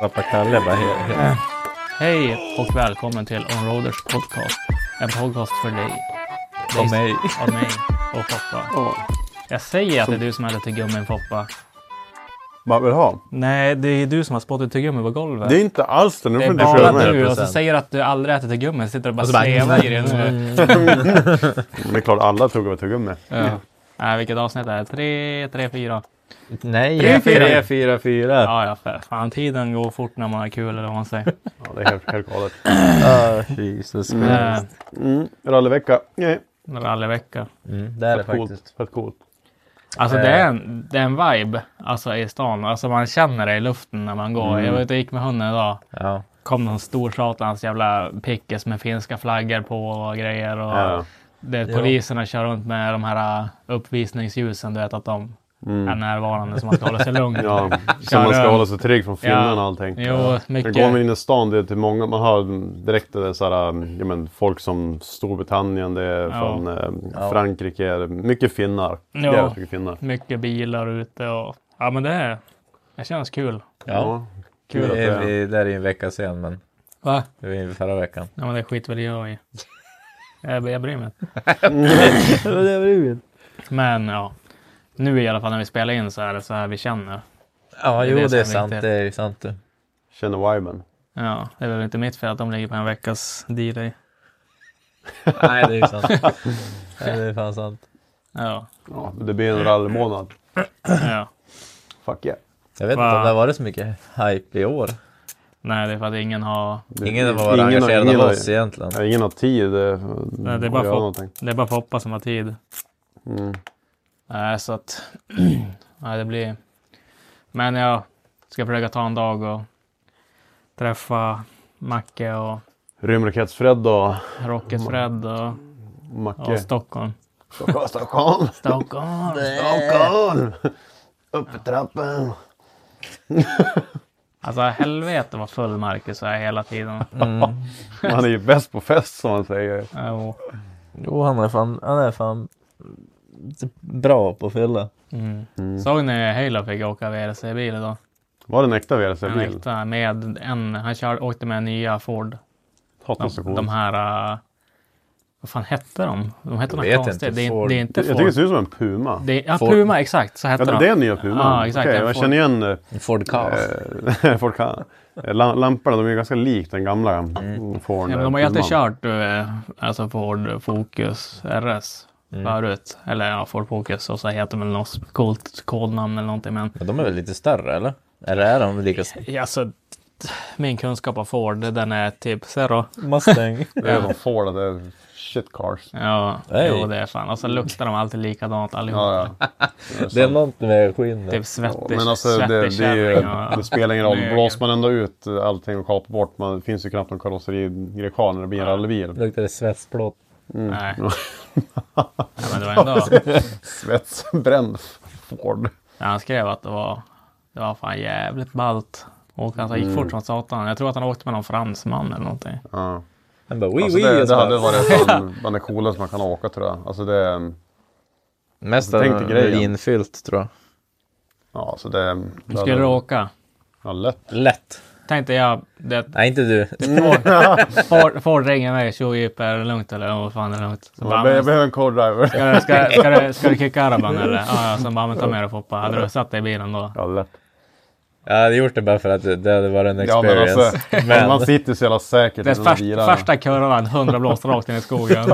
Pappa Kalle bara he- he- Hej och välkommen till Onroaders podcast. En podcast för dig. dig Och mig. Av mig och Foppa. Jag säger att det är du som hade tuggummin Foppa. Man vill ha. Nej, det är du som har spottat tuggummi på golvet. Det är inte alls det. Nu Det får är inte köra bara du med. och så 100%. säger du att du aldrig äter tuggummi. Sitter och bara svävar i det nu. Det är klart alla tog och tog med. Ja. Nej, vilket avsnitt är det? Tre, tre, fyra. Nej, Tre, fyra. 3, 4, 4. Ja, ja, för fan. Tiden går fort när man har kul eller vad man säger. Ja, det är helt, helt galet. Jesus Eh, Christ. Mm. Rallyvecka. Nej, Rallyvecka. Mm, det är det fett coolt. faktiskt. Fett coolt. Alltså Eh. det är, en, det är en vibe alltså, i stan. Alltså man känner det i luften när man går. Mm. Jag, var ute och gick med hunden idag. Ja. kom någon stor satans jävla pickes med finska flaggor på och grejer. Och Ja. det, poliserna kör runt med de här äh, uppvisningsljusen, du vet att de är närvarande så man ska hålla sig lugn. Mm. Ja, så man ska Kör, hålla sig trygg från finnarna Ja. och allting. Jo, Men går man mycket. in i stan, det är till många, man hör direkt det är så här, mm, ja, men, folk som Storbritannien, det är från eh, Frankrike, det är mycket finnar. Ja. Jävligt mycket finnar. Mycket bilar ute och ja, men det, är, det känns kul. Ja. Kul att Det det är, är. vi, det är ju en vecka sen, men Va? det var ju förra veckan. Ja, men det skit väl jag i. Jag, jag bryr mig inte. Men ja, nu i alla fall när vi spelar in så är det så här vi känner. Ja, Det är det jo, som det är är sant. viktigt. Det är ju sant. du. Känner viben. Ja, det är väl inte mitt fel att de ligger på en veckas delay. Nej, det är ju sant. Nej, det är fan sant. Ja, Ja, det blir en rallymånad. ja. Fuck yeah. Jag vet inte Va? om det har varit så mycket hype i år. Nej, det är för att ingen har... Det- Ingen var ingen har- engagerad ingen av har- oss egentligen. Ja, ingen har tid eh, Nej, det, är att göra bara Foppa, någonting. det är bara Foppa som har tid. Nej, så att... Nej, det blir... Men jag ska försöka ta en dag och träffa Macke och Rymdrakets-Fred och Rocket Fred och, och Macke. Stockholm. Stockholm, Stockholm, Stockholm! Stockholm! Upp för trappen. Alltså helvete vad full Marcus är hela tiden. Han är ju bäst på fest som man säger. Jo. Jo, han är fan, han är fan bra på att fylla. Mm. Såg ni Halo fick åka VRC-bil idag? Var det en äkta En WRC-bil? äkta med en... Han kör, åkte med nya Ford Hatar så De, coolt. de här... äh, vad fan hette de? De hette Jag något vet konstigt. inte. Det, är, Ford. det är inte Jag Ford. tycker det ser ut som en Puma. det är, ja, Ford. Puma, exakt. Så hette Ja, de. det är nya Puma. Ja, exakt. Okej, En jag Ford. känner igen eh, Ford Cast. eh, folk kan. eh, la- Lamporna, de är ju ganska lik den gamla mm. Ford. Ja, men de har ju alltid kört eh, alltså Ford Focus RS Mm. förut. Eller ja, Ford Focus och så heter det väl något coolt kodnamn eller någonting. Men Men de är väl lite större, eller? Eller är de lika stora? ja, alltså, t- min kunskap av Ford, den är typ zero. Mustang. Det är som Ford, det är shit cars. Ja, Hey. jo, det är fan. Och så luktar de alltid likadant allihop. Ja, ja. det är något med skinnet. Typ svettig, Men alltså det, det, är ju, kärring och- det spelar ingen roll. Nej, Blåser man ändå ut allting och kapar bort. Man, det finns ju knappt någon karosseri kvar när det blir en rallybil. Luktar det svetsplåt. Nej. Nej, men det var ändå... Svetsbränd Ford. Ja, han skrev att det var, det var fan jävligt ballt. Och han så gick fort som satan. Jag tror att han åkte med någon fransman eller någonting. Mm. Ja. Han bara, oui, Alltså oui. det, och så det hade bara- varit fan bland det coolaste man kan åka tror jag. Alltså det, Mest Tänk dig hade det grejen. varit infyllt tror jag. ja, alltså det, det Skulle du hade, åka? ja, lätt. Lätt. Tänkte jag, det, Nej, inte du. Ford, Ford ringer mig, tjo Jeep, är det lugnt eller? Vad fan är det lugnt? Så bara, Jag, be- jag men, behöver en co-driver. ska, du- ska, ska, du, ska du kicka araban eller? Ja, ja, så bara, men ta med dig Foppa. Hade du satt dig i bilen då? Ja, lätt. Jag hade gjort det bara för att det det hade varit en Ja, men experience. alltså, Men- man sitter så jävla säkert Det är i de här först, bilarna. första kurvan, 100 blåst rakt in i skogen.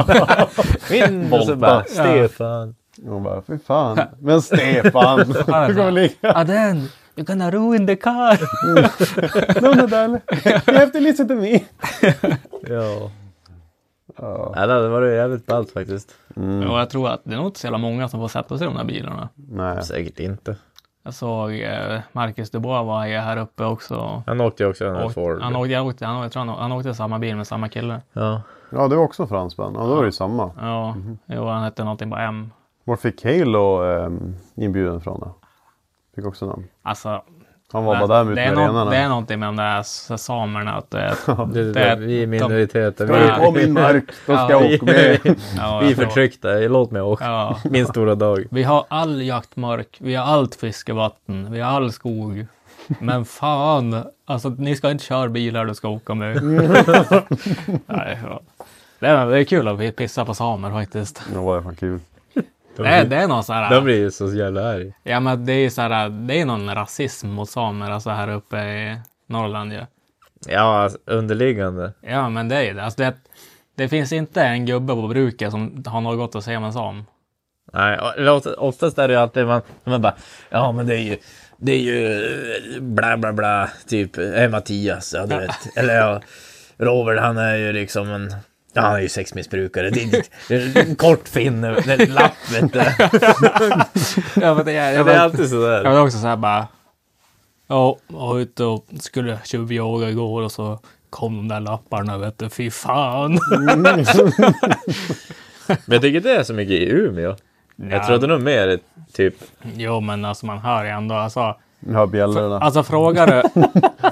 Vinn! Och så bara, Stefan. Hon bara, fy fan. Men Stefan, du kommer ligga. Aden, you gonna ruin the car! No, no, darling. You have to listen to me. Ja. ja. Det hade varit jävligt ballt faktiskt. Mm. Och jag tror att det är nog inte så jävla många som får sätta sig i de där bilarna. Nej. Säkert inte. Jag såg eh, Marcus Dubois var ju här uppe också. Han åkte ju också den här Och, Ford. han, åkte, jag åkte, han, åkte, jag tror han, å- han åkte samma bil med samma kille. Ja. Ja, Mhm. du är också fransman. Ja, då är det ju samma. Ja, jo, han hette någonting bara M. Var fick Halo ehm, inbjuden från då? Fick också namn. Alltså, Han var bara det, där ute det, med är någon, det är renarna. någonting med de där s- samerna. Att det, Det, Det- vi är minoriteter. de- Vi, Kom in mörk, då ska Ja. jag åka med. ja, vi är jag tror- förtryckta. Låt mig åka. Ja. Min stora dag. Vi har all jaktmark, vi har allt fiskevatten, vi har all skog. Men fan, alltså ni ska inte köra bilar du ska åka med. Nej, ja. det, är, det är kul att vi pissar på samer faktiskt. Det var ju fan kul. De, Det är, det är någon så de här, blir ju så jävla arg. ja men det är så här, det är någon rasism mot samer alltså här uppe i Norrland ju. Ja. Ja, alltså, underliggande. men det är ju det. Alltså, det. Det finns inte en gubbe på bruket som har något gott att säga om en sam. Nej, och- eller oftast- oftast är det ju alltid man, man bara Ja men det är ju Det är ju eh, bla bla bla Typ, är Mattias, ja du vet Eller ja, Robert han är ju liksom en Ja, han är ju sexmissbrukare. Det är det är en kort finne, det är en lapp vet du. Ja, men det är, Det är alltid Jag sådär. var också så här bara. Ja, jag var ute och skulle tjuvjaga igår och så kom de där lapparna vet du. Fy fan. Men jag tycker det är så mycket i Umeå. Jag trodde nog mer typ... Jo men alltså man hör ju ändå alltså. Nu hör bjällrorna. Alltså frågar du.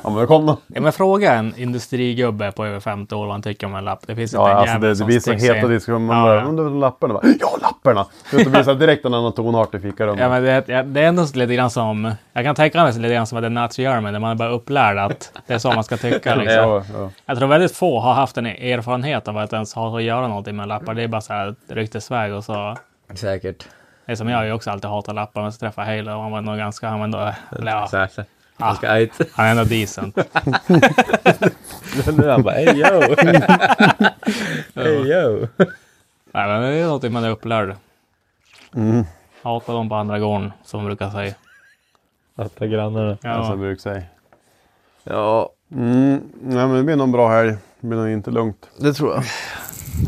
Ja, men kom då. ja, men fråga en industrigubbe på över 50 år vad han tycker om en lapp. Det finns inte Ja, en alltså jävel det, det som blir så sticks in. heta diskussioner. Man Ja, bara, ja. undrar om lapparna? Bara, ja, lapparna! Du vet, Det blir så här direkt en annan tonart i fikarummet. Ja, men det, ja, det är ändå lite grann som, jag kan tänka mig så lite grann som att det är Nazi German, där man är bara upplärd att det är så man ska tycka. Liksom. ja, ja. Jag tror väldigt få har haft en erfarenhet av att ens ha att göra någonting med lappar. Det är bara så här ryktesväg och så. Säkert. Det är som jag, jag har ju också alltid hatat lappar, men så träffade jag Halo och han var nog ganska, han var ändå, eller ja, Säkert. Ganska argt. han är ändå decent. Nu är han bara hey yo. hey yo. Nej men det är någonting man är upplärd. Mm. Hata dem på andra gården, som man brukar säga. Fatta grannarna. Ja, Alltså, brukar säga. Ja, Mm, nej, men det blir någon bra helg. Det blir nog inte lugnt. det tror jag.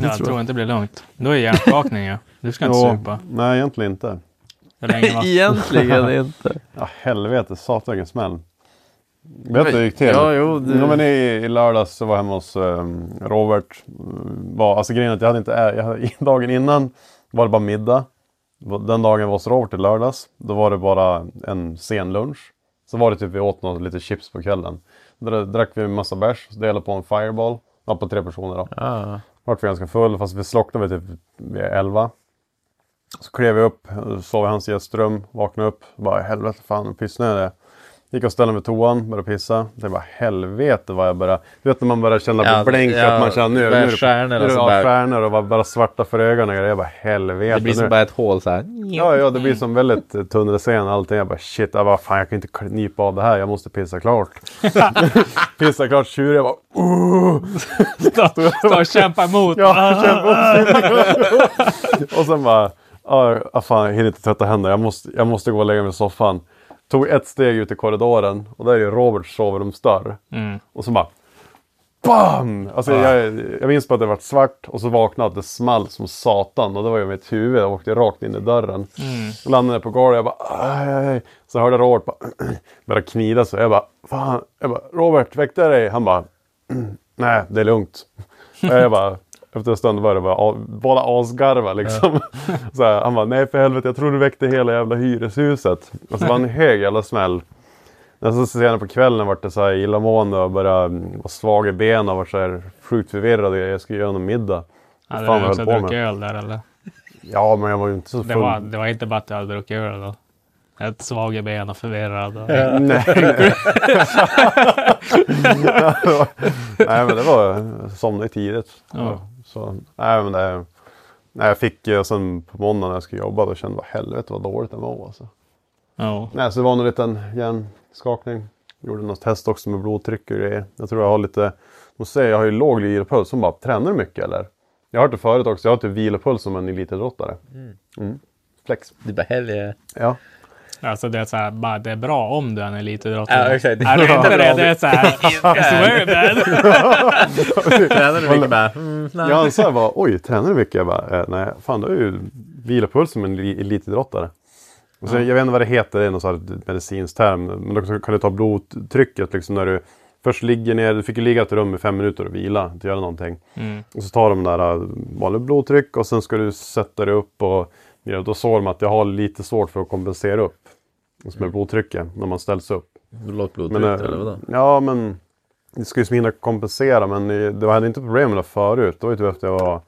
jag tror inte det blir lugnt. Då är hjärnskakning ju. Du ska inte Ja, supa. nej, egentligen inte. Hur länge man... Egentligen inte. Ja, helvete. Satan vilken smäll. Vet du hur det gick till? Ja, jo, det- ja, men i, I lördags så var jag hemma hos ehm, Robert. Mm, Var, alltså grejen är att jag hade inte... ä- Jag hade, dagen innan var det bara middag. Den dagen var hos Robert i lördags. Då var det bara en sen lunch. Så var det typ vi åt något, lite chips på kvällen. Då drack vi en massa bärs, så delade på en fireball. Ja, på tre personer då. Ja. vart vi ganska full fast vi slocknade vid typ vid 11. Så klev jag upp, sov i hans gästrum, vaknade upp. Bara helvete fan, hur pissnödig jag är. Gick och ställde mig vid toan, började pissa. Det var helvete vad jag började... Du vet när man börjar känna Ja, på blänk, ja, att man känner nu, nu det är det- stjärnor nu är och det så ja, bara- stjärnor och bara, bara svarta för ögonen. och grejer. Jag bara helvete. Det blir nu- som bara ett hål så här. Ja, ja, det blir som väldigt eh, tunn scen och allting. Jag bara shit, jag bara, fan jag kan inte knipa av det här. Jag måste pissa klart. pissa klart tjurig. Jag bara Stå och kämpa emot. Ja, Ah, och sen bara, ja ah, fan jag hinner inte tvätta händerna, jag måste, jag måste gå och lägga mig i soffan. Tog ett steg ut i korridoren och där är ju Roberts sovrumsdörr. Och så bara, BAM! Alltså, jag, jag minns bara att det vart svart och så vaknade jag att det small som satan och det var ju mitt huvud och åkte rakt in i dörren. Och landade på golvet och jag bara, aj, aj, aj. Så hörde jag Robert bara, börja knida så jag bara, fan. Jag bara, Robert väckte jag dig? Han bara, nej det är lugnt. Och jag bara, efter en stund var det bara, a- båda asgarva liksom. Så här, han bara, nej för helvete jag tror du väckte hela jävla hyreshuset. Och så var en hög jävla smäll. Nästan senare på kvällen vart det så här illamående och började mm, vara svag i benen och vart så här sjukt förvirrad. Jag jag skulle göra någon middag. Vad Hade fan du jag också höll på druckit med. öl där eller? Ja, men jag var ju inte så Det full. var, det var inte bara att du hade druckit öl då? Ett svag i benen och förvirrad. Och... Nej. nej, men det var... Jag somnade tidigt. Ja. Så, nej, men det... Nej, jag fick eh, sen på måndagen när jag skulle jobba då kände jag helvete vad dåligt det var alltså. Ja. Nej, så det var någon liten hjärnskakning. Gjorde något test också med blodtryck och grejer. Jag tror jag har lite... De säger jag har ju låg vilopuls. Hon bara, tränar du mycket eller? Jag har hört det förut också. Jag har typ vilopuls som en elitidrottare. Mm. Flex. Det är bara helg. Ja. Alltså det är så här, bara det är bra om du är en elitidrottare. Ja, exakt. Är du inte det, det är så här, it's very bad. Tränar du mycket bara? Mm, nej. Jag ansåg bara, oj, tränar du mycket? Jag bara, eh, nej, fan du har ju vilopuls som en eli- elitidrottare. Och så, Jag vet inte vad det heter, det är någon sån här medicinsk term. Men då kan du ta blodtrycket liksom när du först ligger ner. Du fick ju ligga i ett rum i fem minuter och vila, inte göra någonting. Och så tar de där eh, vanligt blodtryck och sen ska du sätta dig upp och ja, då såg de att jag har lite svårt för att kompensera upp. Just med blodtrycket, när man ställs upp. Lågt blodtryck Men, eh, eller vadå? ja, men det ska ju som hinna kompensera. Men eh, det hade inte problem med det förut. Det var ju typ efter jag var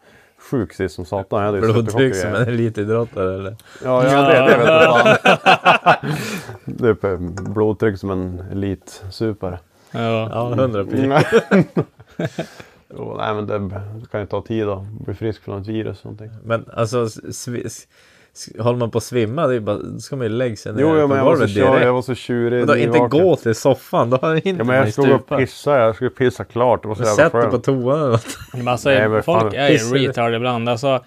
sjuk sist som satan. Jag hade ju Blodtryck som en en... elitidrottare eller? Ja, ja, det, det vet jag fan. det är på blodtryck som en elitsupare. Ja. Mm. Ja, 100 pil. Jo, nej, men det det kan ju ta tid att bli frisk från ett virus. och Någonting. Men alltså, svi, s- s- håller man på att svimma, det är bara, då ska man ju lägga sig ner Jo, ja, på men jag var, så golvet tjurig, jag direkt. var så tjurig. Vadå, inte nyvaken. gå till soffan, då har du inte Ja, men jag blivit stod och stupad. pissade. Jag skulle pissa klart. Det var så jävla Sätt dig på skönt. toan eller något. Men alltså, Nej, men fan. folk är ju Pissar du? retard ibland. Alltså,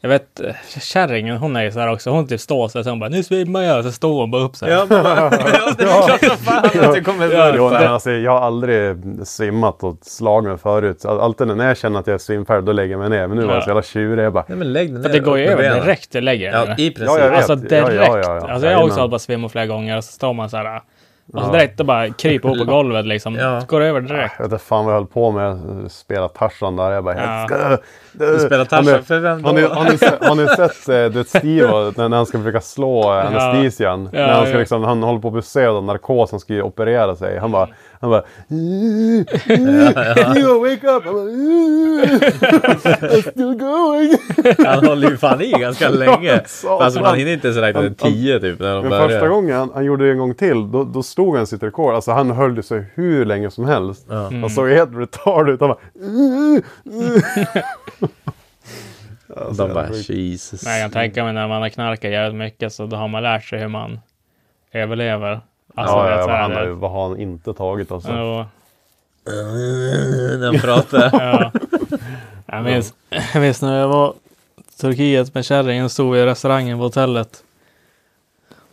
jag vet eh, kärringen, hon är ju så här också. Hon typ står så här, så hon bara nu svimmar jag. Så står hon bara upp så här. Ja, men, ja, det är klart som fan att du kommer Jo, nej, men surfa. alltså, jag har aldrig svimmat och slagit mig förut. All- Alltid när jag känner att jag är svimfärdig, då lägger jag mig ner. Men nu var jag så jävla tjurig. Jag bara, Nej men lägg dig För ner. det går ju upp med över benen. direkt du lägger dig Ja, ner. i princip. Ja, jag vet. Alltså direkt. Ja, ja, ja, ja. Alltså jag har också Jajamän. hållit på att svimma flera gånger och så står man så här. äh, Och så direkt och bara kryper ihop på golvet liksom. Ja. Så går det över direkt. Jag vet inte fan vad jag höll på med. Jag spelade Tarzan där. Jag bara, Ja. ja. Du spelar Tarzan för vem då? Har ni, har ni, se- har ni sett eh, du vet, Steve och- när, när han ska försöka slå eh, anestesian? Ja, när han, ska, ja. liksom, han håller på att bli sövd av narkos. Han ska ju operera sig. Han bara, han bara... "Eh, eh, You wake up! Jag bara, "Eh, I'm still going! Han håller ju fan i ganska länge. Satan. Alltså man hinner inte ens räkna till Han- han- tio typ när de Men första börjar. gången han, han gjorde det en gång till, då, då stod han sitt rekord. Alltså han höll det sig hur länge som helst. Han såg helt retard ut. Han bara... "Uh, De bara Jesus. Men jag kan tänka mig när man har knarkat jävligt mycket så då har man lärt sig hur man överlever. Alltså, ja, vet, ja, så vad här, han har, ju- vad har han inte tagit alltså? Ja. När de pratar. Ja. Jag minns, jag minns när jag var i Turkiet med kärringen stod vi i restaurangen på hotellet.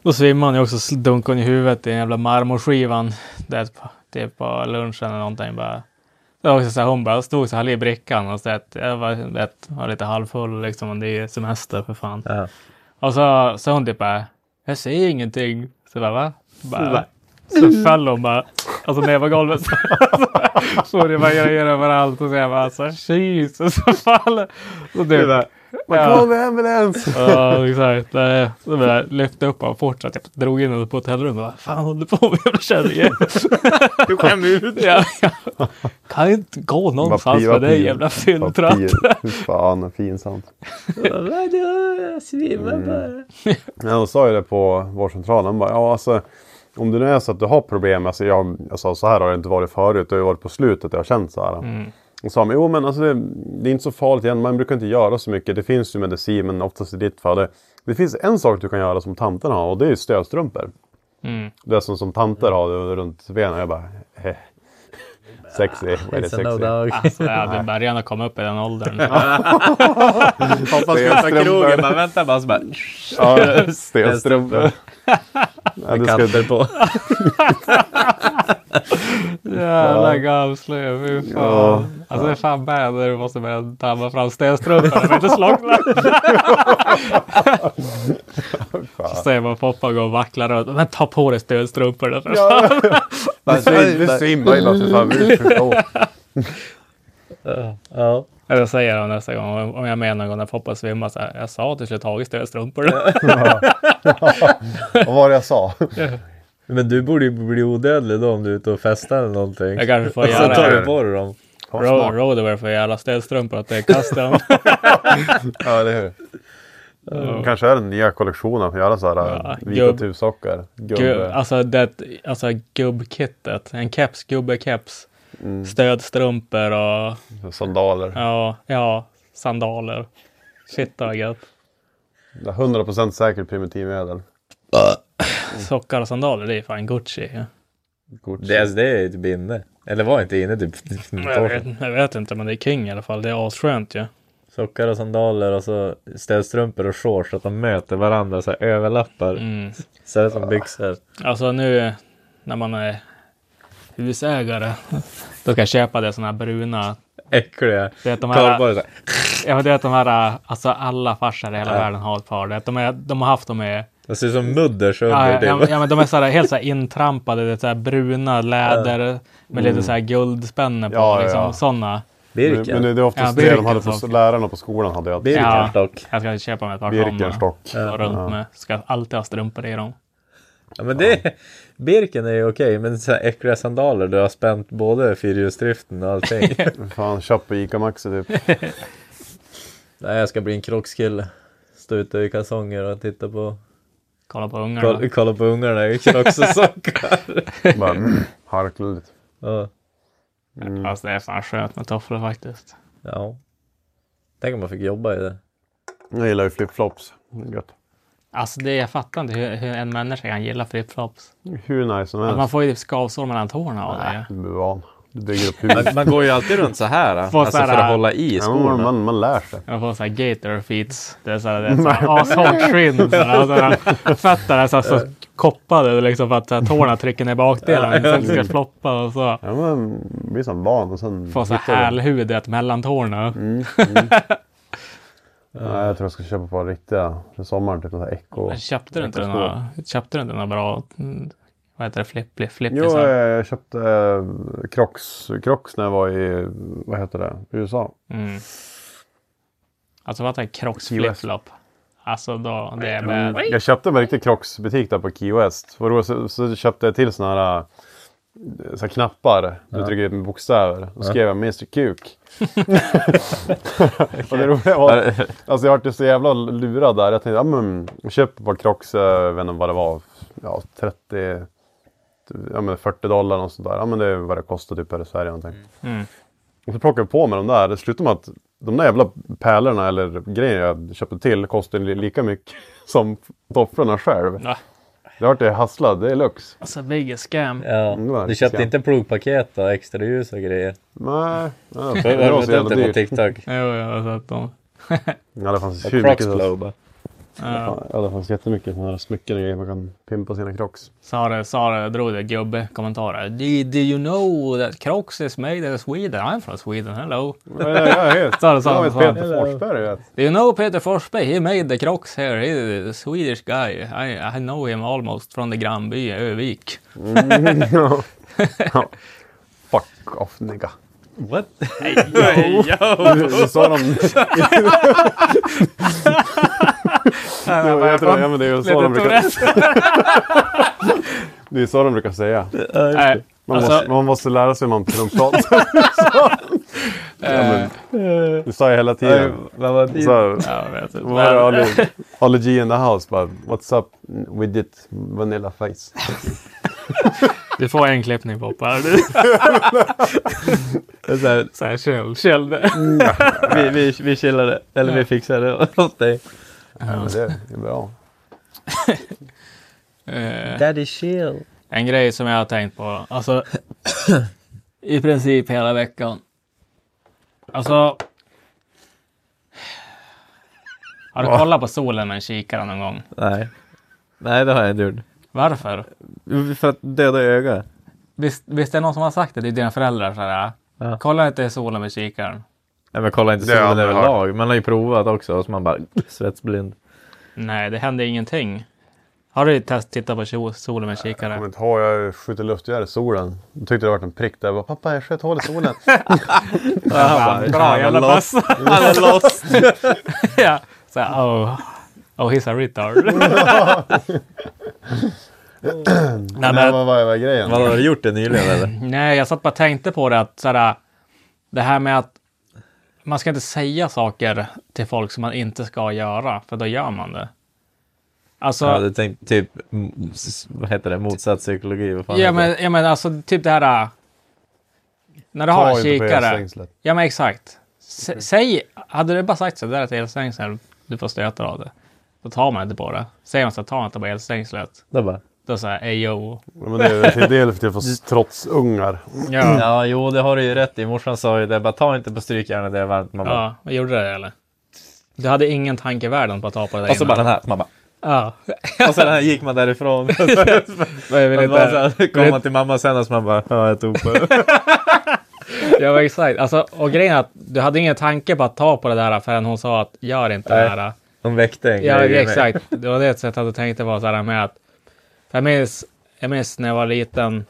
Då svimmade jag också sl- dunkade hon i huvudet i den jävla marmorskivan. Det på, typ på lunchen eller någonting bara. Det var också så här, hon bara stod så här i brickan och så att jag var, vet, var lite halvfull liksom. Och det är ju semester för fan. Ja. Och så sa hon typ bara, jag ser ingenting. Så jag bara, va? Bara, så föll hon bara, alltså ner på golvet. Så det var grejer överallt och så jag bara, alltså Jesus, så faller. Så typ, Man kom med ambulans! ja, exakt. Nej, Så bara lyfte upp och fortsatte, jag drog in henne på hotellrummet. Vad fan håller du på med jävla kärring? Du skämmer ut. Ja, ja. Kan ju inte gå någonstans med dig jävla fylltratt. Fy fan vad pinsamt. Jag svimmar bara. Men hon Mm. sa ju det på vårdcentralen. Hon bara, ja alltså. Om det nu är så att du har problem. Alltså jag, jag sa så här har det inte varit förut. Det har ju varit på slutet jag har känt så här. Mm. Hon sa, men jo men alltså det, det är inte så farligt igen. Man brukar inte göra så mycket. Det finns ju medicin men oftast i ditt fall. Det, det finns en sak du kan göra som tanterna har och det är ju stödstrumpor. Mm. Det är som, som tanter har runt benen. Jag bara, eh. Sexy, vad är det It's a no sexy? dog. Så Alltså, jag hade börjat att komma upp i den åldern. Hoppas vi öppnar Stenström krogen börjar- bara vänta bara så bara. Ja, stenstrumpor. Ja, det ska- Katter på. Jävla gamslö, fy fan. Ja. Alltså det är fan bad när du måste börja damma fram stenstrumpan. De inte slockna. Så ser man Poppa gå och vackla runt. Men ta på dig stenstrumporna för fan. Du svimmar ju för fan. Vi förstår. Ja. Eller säger de nästa gång. om- Om jag menar någon gång när Poppa svimmar så här. Jag sa att du skulle tagit stenstrumporna. Vad var det jag sa? Men du borde ju bli odödlig då om du är ute och festar eller någonting. Jag kanske får Och så tar göra du på dig dem. Ja, Alltså, smart. Rodover för jävla städstrumpor att det är custom. Ja, eller hur. Kanske är den nya kollektionen. Göra så här äh, Ja, vita gubb. tuvsockar. Gub, Gubbe. alltså det, alltså gubbkittet. En keps, gubbekeps. Mm. Stödstrumpor och Sandaler. ja, ja, sandaler. Shit vad gött. Det är 100% säker primitivmedel. Mm. Sockar och sandaler, det är fan Gucci. Ja. Gucci. Det, alltså, det är ju ett binne. Eller var inte inne typ Jag, vet, jag vet inte, men det är king i alla fall. Det är asskönt ju. Ja. Sockar och sandaler och så städstrumpor och shorts så att de möter varandra så här överlappar. Mm. Så här som byxor. Alltså nu när man är husägare, då ska jag köpa det såna här bruna. Äckliga. Du vet de här, Cowboys. så här. ja, du vet de här, alltså alla farsor i hela världen har ett par. Du vet, De, är, de har haft dem i De ser ut som mudders under. Ja, typ. ja, ja, men de är så här, helt så här intrampade, det är så här bruna läder med lite så här guldspänne på. Mm. Ja, ja, liksom, ja. Sådana. Men, Birken. men det är oftast Ja, det Birken de hade på sak. lärarna på skolan. Hade jag. Birken Ja. dock. Jag ska köpa mig ett par sådana. Birkenstock. och runt med. Ska alltid ha strumpor i dem. Ja, men det, Birken är ju okej, men så här äckliga sandaler, du har spänt både fyrhjulsdriften och allting. Fan, köp på Ica Maxi typ. Nej, jag ska bli en krockskille. Stå ute i kalsonger och titta på, Kolla på ungarna. kolla, kolla på ungarna i krocks och sockar. Bara mm, harkla lite. ja. Alltså, det är fan skönt med tofflor faktiskt. ja. Tänk om man fick jobba i det. Jag gillar ju flipflops. Det är Gött. Alltså det, jag fattar inte hur, hur en människa kan gilla flipflops. Hur nice som Att man helst. får ju typ skavsår mellan tårna av det. Du blir van. Du bygger upp huvudet. Man går ju alltid runt så här, Få alltså så här- för att hålla i Ja, man, skorna. man, man lär sig. Jag får såhär gator feet. Det är såhär, det är såhär ashårt skinn. såhär, och såhär, Fötterna är såhär, så koppade liksom för att såhär, tårna trycker ner bakdelen. Sen ska det floppa och så. Ja, man blir så van och sen... Får såhär hittar du- Mm. hälhuvudet mellan tårna. Nej, jag tror jag ska köpa på riktiga för sommaren. Typ några echo. Men Köpte du inte Jag några, köpte du inte några bra, mm, vad heter det, Jo, flippli, eh, flippisar? jag köpte eh, Crocs, Crocs när jag var i, vad heter det, USA. Mm. Alltså fatta Crocs US. flipflop. Alltså då, det är med, Jag köpte en riktig Crocs-butik där på Key West. Vad roligt, så, så köpte jag till såna här, eh, så här knappar. Du trycker ut med bokstäver. Då skrev jag Mr Kuk. och det roliga var, alltså jag vart så jävla lurad där. Jag tänkte, ja men jag köpte bara Crocs, eh, jag vet inte vad det var, ja 30, ja men 40 dollar och sådär. Ja men det är vad det kostar typ här i Sverige någonting. Och så plockade jag på mig de där. Det slutade med att de där jävla pärlorna eller grejerna jag köpte till kostade li- lika mycket som tofflorna själv. Va? Det vart jag hasslad, det är lux. alltså biggest scam. Ja. Du köpte inte plogpaket och extra ljus och grejer? Nej, nej, Har det du var så sett jävla det på dyrt. TikTok? Jo, jag har sett dem. Ja, det fanns Och hur mycket som helst. Crocsglobe. Ja, det fanns jättemycket sådana här smycken och grejer man kan pimpa sina Crocs. Sara, Sara drog det gubbe-kommentarer. Did, did you know that Crocs is made in Sweden? I'm from Sweden, hello. Ja, ja, ja, helt. Sa du Det var så? ett Peter Forsberg vet. Do you know Peter Forsberg? He made the Crocs here. He's a Swedish guy. I, I know him almost from the grannby Övik. Ja. Ja. Fuck off nigga. What? Du sa de... Jo, jag tror, ja, men det är ju så de brukar... Det är så de brukar säga. Nej, Man, Alltså- måste, man måste lära sig hur man trumpratar. ja, men, det sa jag hela tiden. Vad var Eh, det? Så, jag vet inte. vad var det Ali, Ali G in the house bara, What's up with it vanilla face? Du får en klippning Poppa. Det är så här, Såhär käll, käll det. vi, vi, vi chillar det. Eller vi fixar det åt dig. Ja, men det är bra. Eh, Daddy chill. En grej som jag har tänkt på, alltså i princip hela veckan. Alltså. Har du kollat på solen med en kikare någon gång? Nej. Nej, det har jag inte gjort. Varför? För att döda öga. Visst, visst är det någon som har sagt det till dina föräldrar? Sådär, Ja. Kolla inte i solen med kikaren. Nej men kolla inte Det har jag solen aldrig överlag. Man har ju provat också och så man bara svetsblind. Nej, det händer ingenting. Har du test tittat på tjo- solen med Jag kikare? kommer inte ihåg, jag skjuter luftgevär i solen. Jag tyckte det var en prick där. Jag bara, Pappa, jag sköt hål i solen. Bra jävla lost. pass! Han är lost! ja. Såhär, oh, oh, he's a retard. Nej, Men men, vad, vad, vad är grejen? vad har du gjort det nyligen eller? Nej, jag satt bara och tänkte på det att såhär, det här med att man ska inte säga saker till folk som man inte ska göra, för då gör man det. Alltså, Ja, ja, du tänkte typ, mm, s- vad heter det, motsatt psykologi? Vad fan heter men, det? ja, men alltså typ det här. äh, När du Ta har en inte på kikare. elstängslet. Ja, men exakt. S- Säg, hade du bara sagt så där till elstängsel, du får stötar av det. Då tar man inte på det. Säger man så här, ta inte på elstängslet. Då bara, Då säger ej jo. Ja, Men det är väl till del för att få trotsungar. Mm. Ja. ja jo det har du ju rätt i. Morsan sa ju det, bara ta inte på strykjärnet, det är varmt. Man bara, ja, vad gjorde det eller? Du hade ingen tanke i världen på att ta på det där och så innan. bara den här, man bara, Ja. och sen här gick man därifrån. Jag vill Men bara så inte... här, kom man till mamma sen och så man bara, ja jag tog på det. Jag var exakt. Alltså, och grejen är att du hade ingen tanke på att ta på det där förrän hon sa att gör inte Nej. det här. De väckte en Ja, grej i mig. exakt. Det var det sättet jag hade tänkt det var så här med att... Jag minns, jag minns när jag var liten.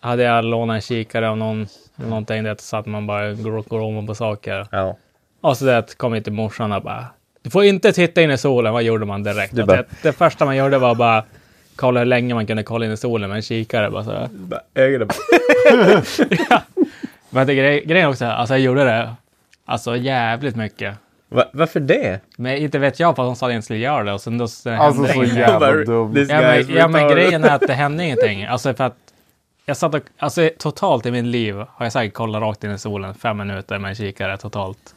Hade jag lånat en kikare av någon, eller någonting, det så att man bara går, går om på saker. Ja. Och så det kom inte morsan och bara, du får inte titta in i solen. Vad gjorde man direkt? Du Att bara- det, det första man gjorde var bara kolla hur länge man kunde kolla in i solen med en kikare. Bara så här. Bara, Ögonen bara, Men det, grej, grejen också, alltså jag gjorde det alltså jävligt mycket. Va, varför det? Men inte vet jag på att hon sa att jag inte skulle göra det och sen då så hände Alltså så ingenting. jävla Bara, dum. this Ja guy is men, ja men retarded. grejen är att det hände ingenting. Alltså för att jag satt och, alltså totalt i mitt liv har jag säkert kollat rakt in i solen fem minuter med en kikare totalt.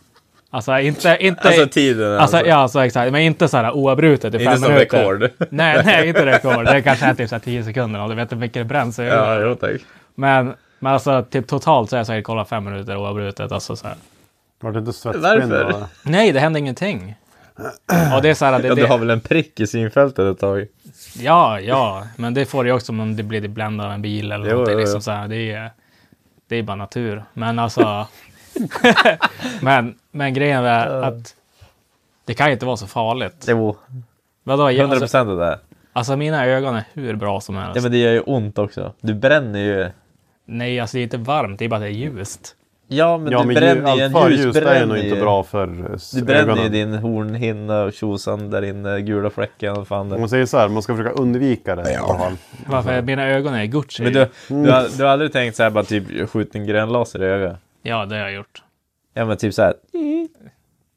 Alltså inte, inte. Alltså tiden Alltså, alltså. ja, alltså, exakt. Men inte så här oavbrutet i fem Inte som minuter. Mm. rekord. Nej, nej, inte rekord. Det kanske är typ så här 10 sekunder och du vet hur mycket det bränns. Ja, jo tack. Men, men alltså typ totalt så har jag säkert kollat fem minuter oavbrutet. Alltså, så här. Var det inte Varför? svettspindlar? Nej, det hände ingenting. Och det är så här, det, Ja, du har det, väl en prick i synfältet ett tag? ja, ja, men det får du ju också om det blir bländad av en bil eller Jo, någonting. jo, jo. Liksom, så här, det, är, det är bara natur. Men alltså, men, men grejen är att det kan ju inte vara så farligt. Jo, Vadå, jag- 100 alltså, procent det där. alltså mina ögon är hur bra som helst. Ja, men det gör ju ont också. Du bränner ju. Nej, alltså det är inte varmt, det är bara att det är ljust. Ja, men Ja du men ju- bränner ju. allt En för ljus, ljus det bränner är nog inte ju. bra för s- Du bränner ju ögonen. din hornhinna och tjosan där inne, gula fläcken och fan Om det. man säger så här, man ska försöka undvika det i alla fall. Varför mina ögon är Gucci? Men du, du, Mm. har, du har aldrig tänkt så här bara typ skjut en grön laser i ögat? Ja, det har jag gjort. Ja men typ så här. Mm.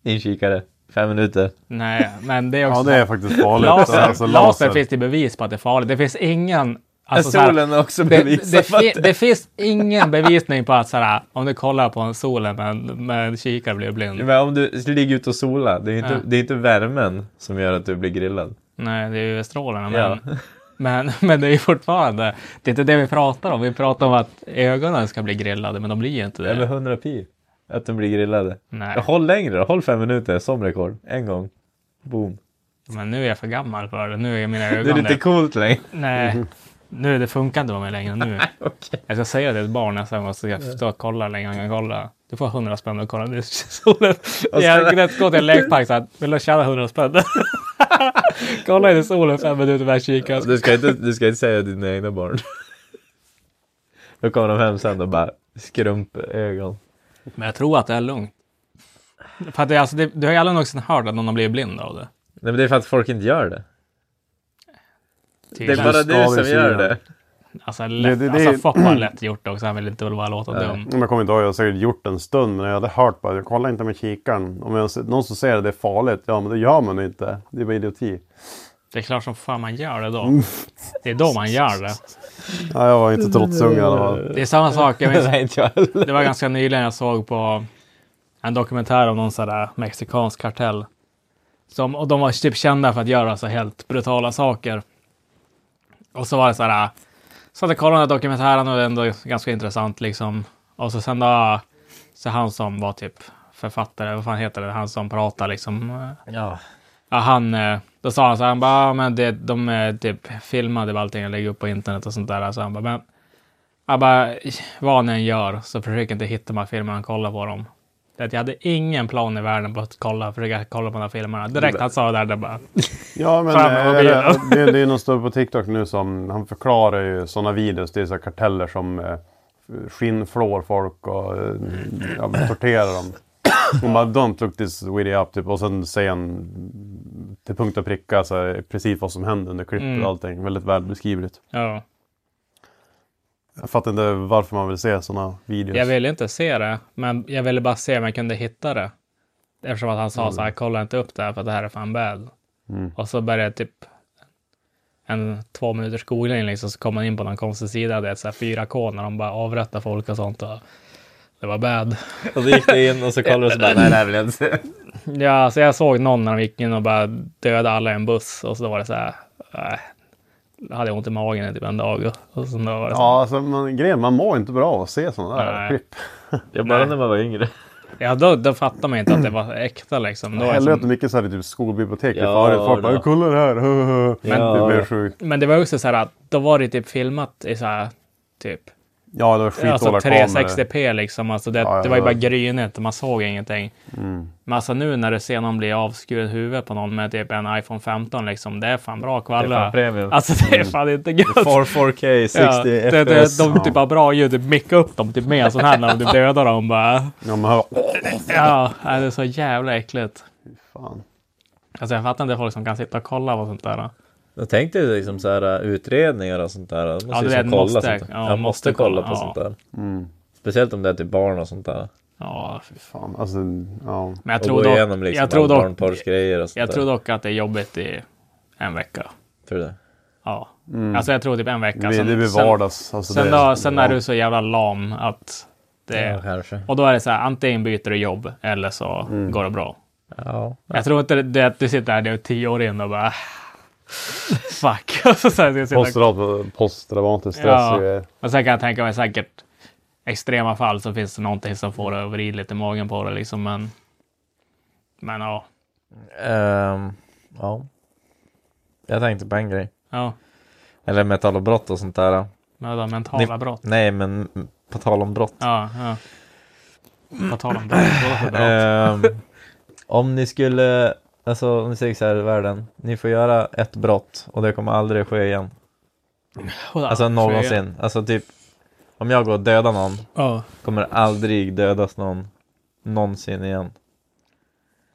In kikare. Fem minuter. Nej, men det är också... Ja det är faktiskt farligt. laser, Alltså, laser finns det bevis på att det är farligt. Det finns ingen... Alltså, så här- Solen har också det, det, bevisat fi- att det finns ingen bevisning på att så här, "Ah, om du kollar på en solen med, en- med en kikare blir du blind. Men om du ligger ute och solar, det är, inte, Ja. det är inte värmen som gör att du blir grillad. Nej, det är ju strålarna. Men, Ja. men, men det är ju fortfarande... Det är inte det vi pratar om. Vi pratar om att ögonen ska bli grillade, men de blir ju inte det. Eller 100 pi. Att de blir grillade. Nej, Håll längre då, håll fem minuter som rekord. En gång. Boom. men nu är jag för gammal för det. Nu är mina Det är ögon lite coolt längre. Nej, nu det funkar inte med mig längre nu. Jag ska säga det till ett barn nästa gång så jag stå och kolla längre än jag kan kolla. Du får hundra spänn och kolla nu solen. Jag kan inte gå till en lekpark så här, vill du tjäna hundra spänn? kolla in i solen fem minuter med kikare. Du ska inte, du ska inte säga till dina egna barn. Då kommer de hem sen och bara skrumpögon. Men jag tror att det är lugnt. För att det, är alltså, det, du har ju aldrig någonsin hört att någon har blivit blind av det. Nej men det är för att folk inte gör det. Det är Tydligen. bara du Skador i som gör synen. det. Typ. Alltså, lätt, Det- det- det- alltså Foppa har lätt gjort det också. Han vill inte väl bara låta dum. Men Jag kommer inte ihåg, jag har säkert gjort en stund men jag hade hört bara, jag kollar inte med kikaren. Om jag, ser- någon som säger att det är farligt, ja men det gör man inte. Det är bara idioti. Det är klart som fan man gör det då. Det är då man gör det. Ja, jag var inte trotsunge i alla fall. Det är samma sak. Jag minns, Nej inte jag heller. Det var ganska nyligen jag såg på en dokumentär om någon sån där mexikansk kartell. Som, och de var typ kända för att göra så helt brutala saker. Och så var det så här. Så att jag kollade den här dokumentären och det är ändå ganska intressant liksom. Och så sen då, så han som var typ författare, vad fan heter det, han som pratar liksom. eh, Ja. Ja, han, eh, då sa han så här, han bara, "Ja, men det, de eh, typ filmade bara allting och lägger upp på internet och sånt där. Så han bara, men, han bara, vad ni än gör så försök inte hitta de här filmerna och kolla på dem. Det att jag hade ingen plan i världen på att kolla, försöka kolla på de här filmerna. Direkt han sa det där, det bara, Ja men Fan, vad eh, blir det, det? det, det är någon stubbe på TikTok nu som, han förklarar ju sådana videos. Det är så här karteller som eh, skinnflår folk och eh, ja, men torterar dem. Hon bara “Don't look this video up” typ. och sen säger han till punkt och pricka så här, precis vad som händer under klippet Mm. och allting. Väldigt välbeskrivligt. Ja. Jag fattar inte varför man vill se sådana videos. Jag ville inte se det, men jag ville bara se om jag kunde hitta det. Eftersom att han sa så här, kolla inte upp det här för det här är fan bad. Mm. Och så började typ en två minuters googling liksom, så kom man in på någon konstig sida, det är så här 4K när de bara avrättar folk och sånt. Och det var bad. Och så gick det in och så kollade du och så bara, nej det här vill jag inte se. Ja, så jag såg någon när de gick in och bara dödade alla i en buss och så då var det så här, äh, hade jag ont i magen i typ en dag. och- Och så då var det så här, Ja, alltså, man, grejen, man mår inte bra av att se sådana där Nej. klipp. Jag bara Nej. när man var yngre. ja, då, då fattade man inte att det var äkta liksom. Då är det som- Helvete mycket så här, i typ skolbiblioteket Ja, förut. Folk bara då. “kolla det här”. Men Ja, det blev ja. sjukt. Men det var också så här att då var det typ filmat i så här typ Ja, det var skitdåliga kameror. alltså 360p liksom. Alltså det, Ja, ja, det var ju ja. bara grynet och man såg ingenting. Men alltså nu när du ser någon bli avskuren huvudet på någon med typ en iPhone 15 liksom. Det är fan bra Det är fan kvalla. premium. Alltså det är fan inte gött. 4K, 60 Ja, det, det, FPS. de typ har bra ljud, typ micka upp dem typ med en sån här när de typ dödar dem bara. Ja, men, hör- Ja, nej, det är så jävla äckligt. fan. Alltså jag fattar inte folk som kan sitta och kolla på sånt där. Jag tänkte liksom så här utredningar och sånt där. Man Ja, måste det ju är ett liksom kolla måste. sånt där. Ja, jag måste måste kolla på kolla, sånt ja. där. Speciellt om det är till barn och sånt där. Ja, fy fan. fan. Alltså, ja. Men jag Och tror gå igenom dock, liksom jag tror alla dock, barnporrsgrejer och sånt jag där. tror dock att det är jobbigt i en vecka. Tror du det? Ja, alltså jag tror typ en vecka. det, det blir vardags. Alltså, Sen, sen, det, då, sen ja. är du så jävla lam att Ja, det... kanske. Och då är det så här, antingen byter du jobb eller så går det bra. Ja. Jag tror inte det att du sitter här, du är tio år in och bara... Fuck. Och så sen, jag sitter, Posttraumat- Posttraumatisk stress. Ja. är ju- och sen kan jag tänka mig säkert extrema fall så finns det någonting som får dig att vrida lite i magen på det liksom. Men, men ja. Ehm, ja. Jag tänkte på en grej. ja. Eller metallbrott och sånt där. Men vadå, mentala brott? Nej, men på tal om brott. Ja, ja. Vad talar om brott? Vad för brott? Ehm, om ni skulle, alltså om ni säger så här i världen, ni får göra ett brott och det kommer aldrig ske igen. Alltså någonsin. Alltså typ, om jag går och dödar någon, Ja. kommer det aldrig dödas någon någonsin igen.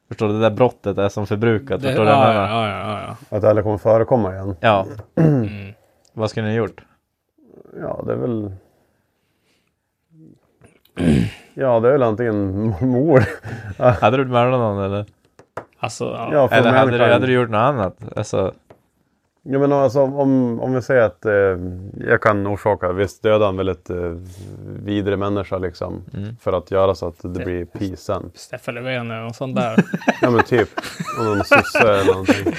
Förstår du? Det där brottet är som förbrukat. Det, Förstår ja, du? vad jag ja, menar? ja, ja, ja. Att det aldrig kommer förekomma igen. ja. Mm. Vad skulle ni gjort? Ja, det är väl... Ja, det är väl antingen mord. Hade du mördat någon eller? Alltså, ja. Ja, för Eller om hade du, människan- hade du gjort något annat? Alltså, Ja, men alltså, om, om vi säger att eh, jag kan orsaka, visst döda en väldigt eh, vidre människa liksom. Mm. För att göra så att det blir peace sen. Stefan Löfven och sånt där. Ja men typ, om någon sosse eller någonting.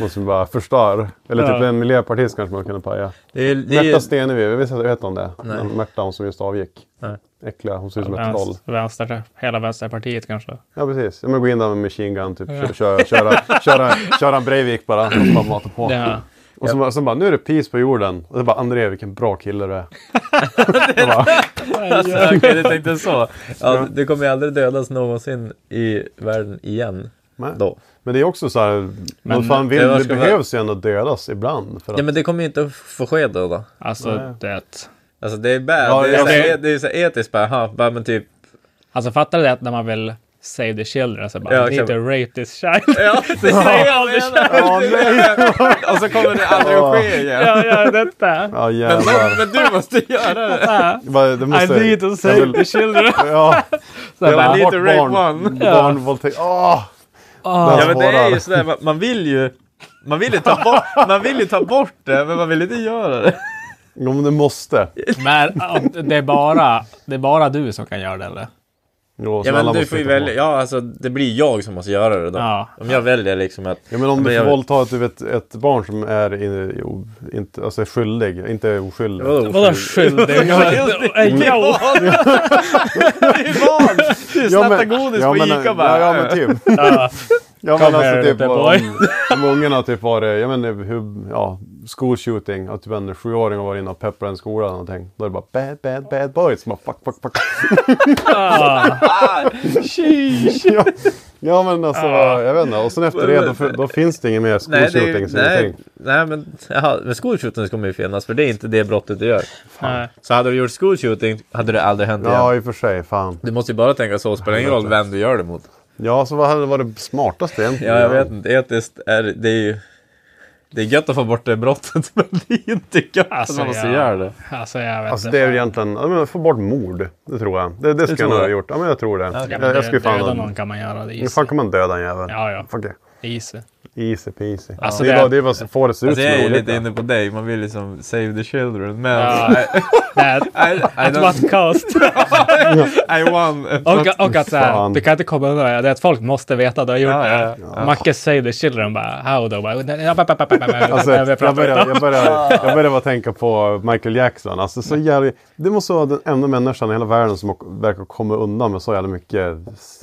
Måste vi bara förstör. Eller typ Ja. en miljöpartist kanske man kunde paja. det är, det Märta är, Stenevi, vi vet inte om det? Nej. Men Märta, hon som just avgick. Nej. Äckliga, hon ser ut som ett troll. Vänster, vänster, hela Vänsterpartiet kanske. Ja precis, ja, men gå in där med machine gun, typ. Kö- Köra, köra, köra, köra en Breivik bara. Och så bara mata på. Ja. Och så, bara- så bara, nu är det peace på jorden. Och så bara, André vilken bra kille du är. Okej, du tänkte så. Ja, det kommer ju aldrig dödas någonsin i världen igen. Nej. Då. Men det är också så här, vad fan vill, det var- det ska behövs ju ändå dödas ibland. För att, Ja, men det kommer ju inte att få ske då. då. Alltså, det. Alltså det är bad. Ja, det, ja, är så här, e- det- det... är så här etiskt bara, aha, bara men typ. Alltså fattar du det att när man vill save the children så bara Ja, ja, need to exakt. rape this child. Ja, det säger jag Ja, nej! Och så kommer det aldrig att ske igen. ja, ja, detta. Ja, jävlar. Men du måste göra det. Vad- Det måste, I need to jag save vill- the children. Ja, Så jag jag bara, vill need bort to rape barn. one. Barnvåldtäkt. Åh! ah, Ja, men det är Svårare. ju sådär, man, man vill ju. Man vill ju, ta bort, man vill ju ta bort det, men man vill inte göra det. Jo, men du måste. men ja, det är, bara, det är bara du som kan göra det eller? Jo, så Ja, alla men du måste får ju hitta på. välja. Ja, alltså det blir jag som måste göra det då. Ja. Om jag väljer liksom att... Ja, men om Men du jag- får våldta ett, ett, ett barn som är in, jo, inte, alltså är skyldig, inte oskyldig. Vadå? Vadå skyldig? Jo! Det är barn! Du Ja, snattar godis på men, Ica ja, bara. ja men typ. ja men here, alltså typ little om, boy. om ungen har typ varit, jag menar hur, ja, school shooting, att typ en sjuåring har varit inne och peppat en skola eller någonting. Då är det bara bad, bad, bad boys. Man, fuck, fuck, fuck. Ah. ja, ja men alltså, jag vet inte. Och sen efter det, då, då finns det inget mer school Nej, det, shootings. nej, ingenting. nej, men, jaha, men school shootings kommer ju finnas för det är inte det brottet du gör. Nej. Så hade du gjort school shooting hade det aldrig hänt igen. Ja, i och för sig. Fan. Du måste ju bara tänka så, spelar ingen roll vem du gör det mot. Ja, så vad hade varit smartast egentligen? Ja, jag vet inte. Etiskt är det är ju... Det är gött att få bort det brottet, men det är inte gött Alltså, att man måste ja. göra det. Alltså jag vet Alltså inte. det är ju egentligen, ja, men få bort mord. Det tror jag. Det, det skulle jag tror nog ha jag. gjort. Ja men jag tror det. Ja, Jag, men jag skulle dö- Döda fan... någon kan man göra. Det är Hur easy. fan kan man döda en jävel? Ja, ja. Fuck it. easy. Easy peasy. Alltså, det, det- är bara- det är vad som får det se ut Alltså, som jag är ju roligt, lite ja. inne på dig, man vill liksom save the children. Men Ja. Det är ett- I, I, ett don't, whatcast. I won. Och, och att så här, Fan. du kan inte komma undan det. Att folk måste veta att du har gjort Ja, det. ja, Macke säger the children bara how då? Bara, Alltså, jag, pratar börjar, inte om. jag, börjar, jag börjar bara tänka på Michael Jackson. Alltså, så jävla, det måste vara den enda människan i hela världen som har- verkar komma undan med så jävla mycket s-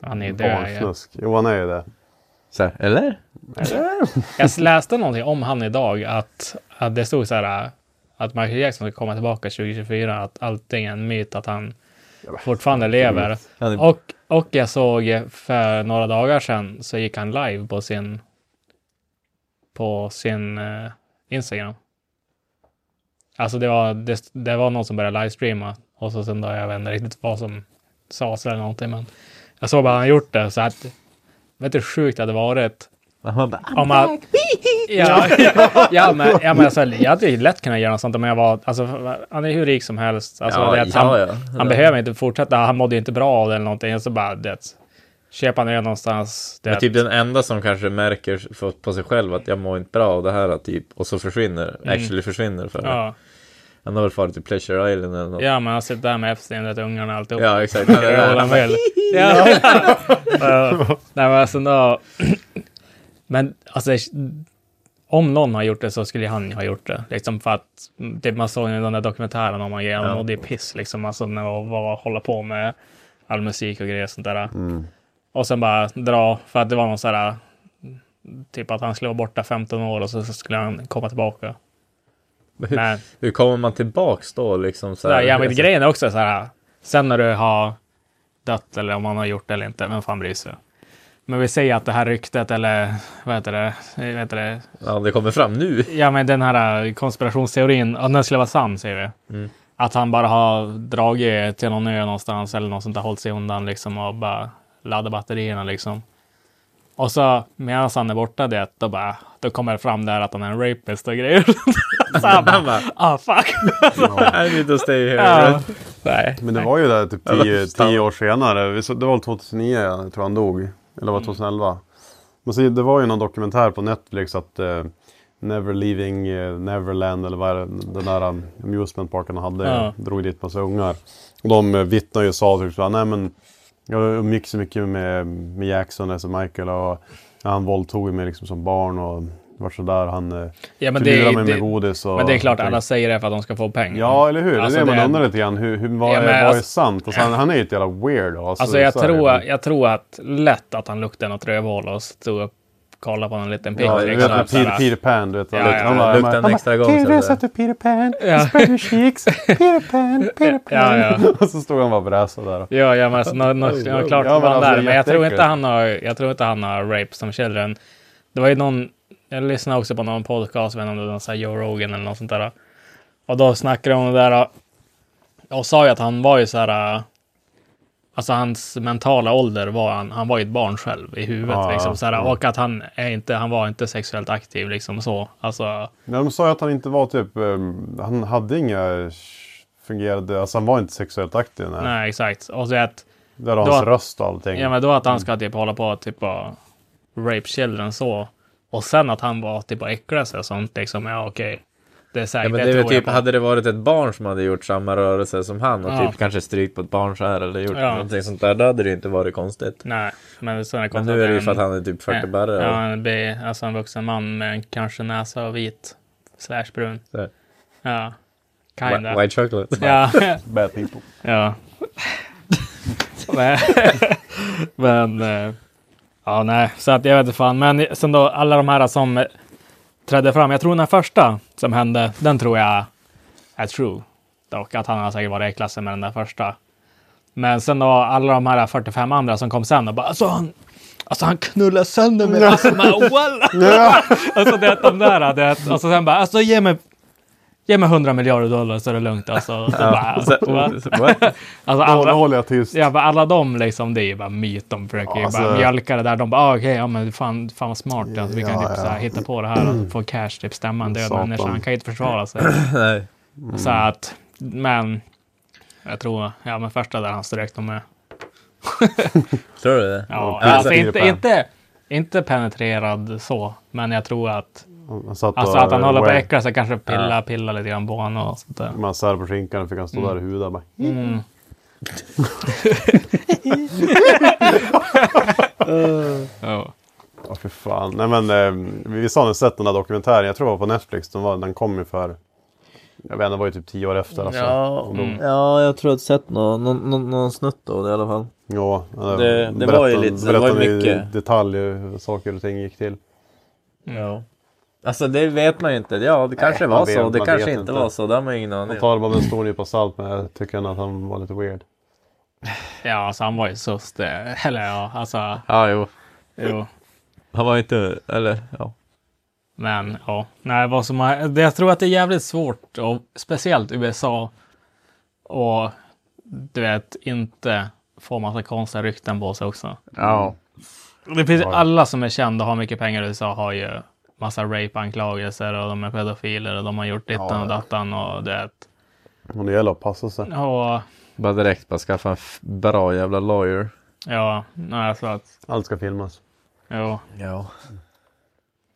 Han är död. ja. barnsnusk. Jo, han är ju det. Så här, eller? Jag läste någonting om han idag att, att det stod så här att Michael Jackson ska komma tillbaka 2024. Att allting är en myt. Att han fortfarande lever. Han är- Och, och jag såg för några dagar sedan så gick han live på sin på sin eh, Instagram. Alltså det var, det, det var någon som började livestreama och så sen då, jag vet inte riktigt vad som sades eller någonting men jag såg bara han gjort det så att vet du hur sjukt det hade varit Man bara, om man... Ja, ja, men, ja, men alltså, jag hade ju lätt kunnat göra något sånt om jag var... Alltså, han är hur rik som helst. Alltså, Ja, det, att ja, han, ja. han behöver inte fortsätta. Han mådde ju inte bra av det eller någonting. Så bara, det, köpa ner någonstans. Det, Men typ den enda som kanske märker för- på sig själv att jag mår inte bra av det här typ och så försvinner, actually försvinner för det. Mm. ja. Han har väl farit till Pleasure Island eller något. ja, men alltså det där med Epstein, det ungarna och alltihop. Ja, exakt. Han Ja, är vad han där. vill. Ja. Ja. Nej, men alltså då... Men alltså, om någon har gjort det så skulle han ha gjort det. Liksom för att mm, det man såg i den där dokumentären om han grejen, och det är piss liksom. Alltså när man var, hålla på med all musik och grejer och sånt där. Och sen bara dra, för att det var någon så här, typ att han skulle vara borta 15 år och så, så skulle han komma tillbaka. Men Hur kommer man tillbaks då liksom? Så så här, här, ja, men grejen är också så här, sen när du har dött eller om man har gjort det eller inte, vem fan bryr sig? Men vi säger att det här ryktet eller vad heter det, vad heter det? ja, det kommer fram nu. Ja, men den här äh, konspirationsteorin, om den skulle vara sann säger vi. Mm. Att han bara har dragit till någon ö någonstans eller något sånt där, hållit sig undan liksom och bara laddat batterierna liksom. Och så medan han är borta det, då bara, då kommer det fram där att han är en rapist och grejer. så han bara, ah fuck. I need to stay here. Ja. Nej. Men det var ju där typ Eller tio, stanna. tio år senare. Vi så- Det var väl 2009 jag tror han dog. Eller var Mm. det 2011? Men så, det var ju någon dokumentär på Netflix att eh, Never Leaving eh, Neverland eller vad är det, den där um, amusement parken han hade. Ja. Drog dit massa ungar. Och de eh, vittnade ju och sa typ så här, nej men jag umgicks så mycket med, med Jackson, alltså Michael och han våldtog mig liksom som barn och var sådär. Han eh, Ja, men det, lurade är- mig med det, godis. Och, Men det är klart, och- alla säger det för att de ska få pengar. Ja, eller hur? Alltså, det är det det- man undrar lite grann. Hur, hur, vad Ja, är, men vad är alltså- sant? Alltså, han, han är ju ett jävla weirdo. Alltså, alltså jag så är det. tror, jag tror att lätt att han luktade något rövhål och stod upp kollade på någon liten pik. Ja, du vet liksom, med såhär. Peter, Peter Pan, du vet. Ja, ja, bara- luktar han en bara, extra gång, Can så you det- dress up to Peter Pan? Ja. Spread your cheeks. Peter Pan, Peter Pan. Ja, ja. Och så stod han bara och bräsade där. Ja, ja, men alltså, nå, nå, nå, klart Ja, men var han alltså, där. Men jag tror, jätteäckligt. inte han har, jag tror inte han har rape som children. Det var ju någon, jag lyssnade också på någon podcast, jag vet inte om det var någon sån här Joe Rogan eller något sånt där. Och då snackade de om det där och sa ju att han var ju så här, äh, alltså hans mentala ålder var han, han var ju ett barn själv i huvudet Ja, liksom så här, ja. och att han är inte, han var inte sexuellt aktiv liksom så. Alltså, Men de sa ju att han inte var typ... ehm, han hade inga fungerade... Alltså han var inte sexuellt aktiv. Nej. nej exakt. Och så att, Där har hans Då- röst och allting. Ja, men då att han Mm. ska typ hålla på och typ bara rape children så. Och sen att han var typ bara äckla sig och sånt liksom. Ja, okej. Det är Ja, säkert. men det är väl tror jag typ, på. hade det varit ett barn som hade gjort samma rörelse som han och Ja. typ kanske strykt på ett barn så här eller gjort Ja. någonting sånt där, då hade det ju inte varit konstigt. Nej, men sen Men nu är det ju för att han är typ 40 barre. Ja, och- han blir alltså en vuxen man med en kanske näsa och vit. Slash brun. så här. Ja. Whi- Kinda. White chocolate. Ja. Bad people. ja. men, men eh, ja, nej, så att jag vet inte fan. Men sen då alla de här som eh, trädde fram. Jag tror den här första som hände, den tror jag är true. Dock att han har säkert varit i klassen med den där första. Men sen då alla de här 45 andra som kom sen och bara alltså han, alltså han knullar sönder mig. Alltså, man, walla. alltså det att de där, det att, alltså sen bara alltså ge mig Ge mig 100 miljarder dollar så är det lugnt alltså. Så bara, Så, va? oh, så, what? alltså Ja, nu alla, håller jag tyst. ja, bara alla de liksom, det är ju bara myt. De försöker ju Alltså- bara mjölka det där. De bara, ah, okej, ja men fan, fan vad smart. Alltså, vi kan Ja, typ ja. så här, hitta på det här och få cash, typ stämma en död Satan. Mm. människa. Han kan ju inte försvara sig. Nej. Så att, men jag tror, ja men första där han strök dem med. Tror du det? Ja, precis. alltså inte, Filipa. inte, inte penetrerad så, men jag tror att, Han satt alltså och- att han håller på att Wang. äckla sig, kanske pilla, pilla lite grann på honom och sånt där. Man sär på skinkan och fick han Mm. stå där i huvudet. och Bara, Ja. Ja, fy fan. Nej, men, eh, vi vi har sett den här dokumentären, jag tror det var på Netflix, den, var, den kom ju för... Jag vet inte, det var ju typ tio år efter. Alltså. Ja, Mm. ja, jag tror jag sett någon, någon, någon, någon snutt av det i alla fall. Ja, eller Det- det var ju lite så, det var ju berättade i mycket. detalj hur saker och ting gick till. Mm. Ja. Alltså det vet man ju inte. Ja, det kanske man var vet- så. Det man kanske vet inte inte. var så. Det har man ju ingen aning Man om. tar det bara med en stor nypa salt, men jag tycker att han var lite weird. ja, alltså han var ju sus det. Eller ja, alltså, Ja, jo. jo. Han var inte... Eller ja. Men ja, nej, vad som har, det, jag tror att det är jävligt svårt, och speciellt USA, och du vet, inte få massa konstiga rykten på sig också. Ja. Det finns ju Ja. alla som är kända och har mycket pengar i USA har ju massa rape-anklagelser och de är pedofiler och de har gjort dittan och dattan och det. Men det gäller att passa sig. Och Bara direkt bara skaffa en f- bra jävla lawyer. ja, nej, alltså att Allt ska filmas. jo, Ja.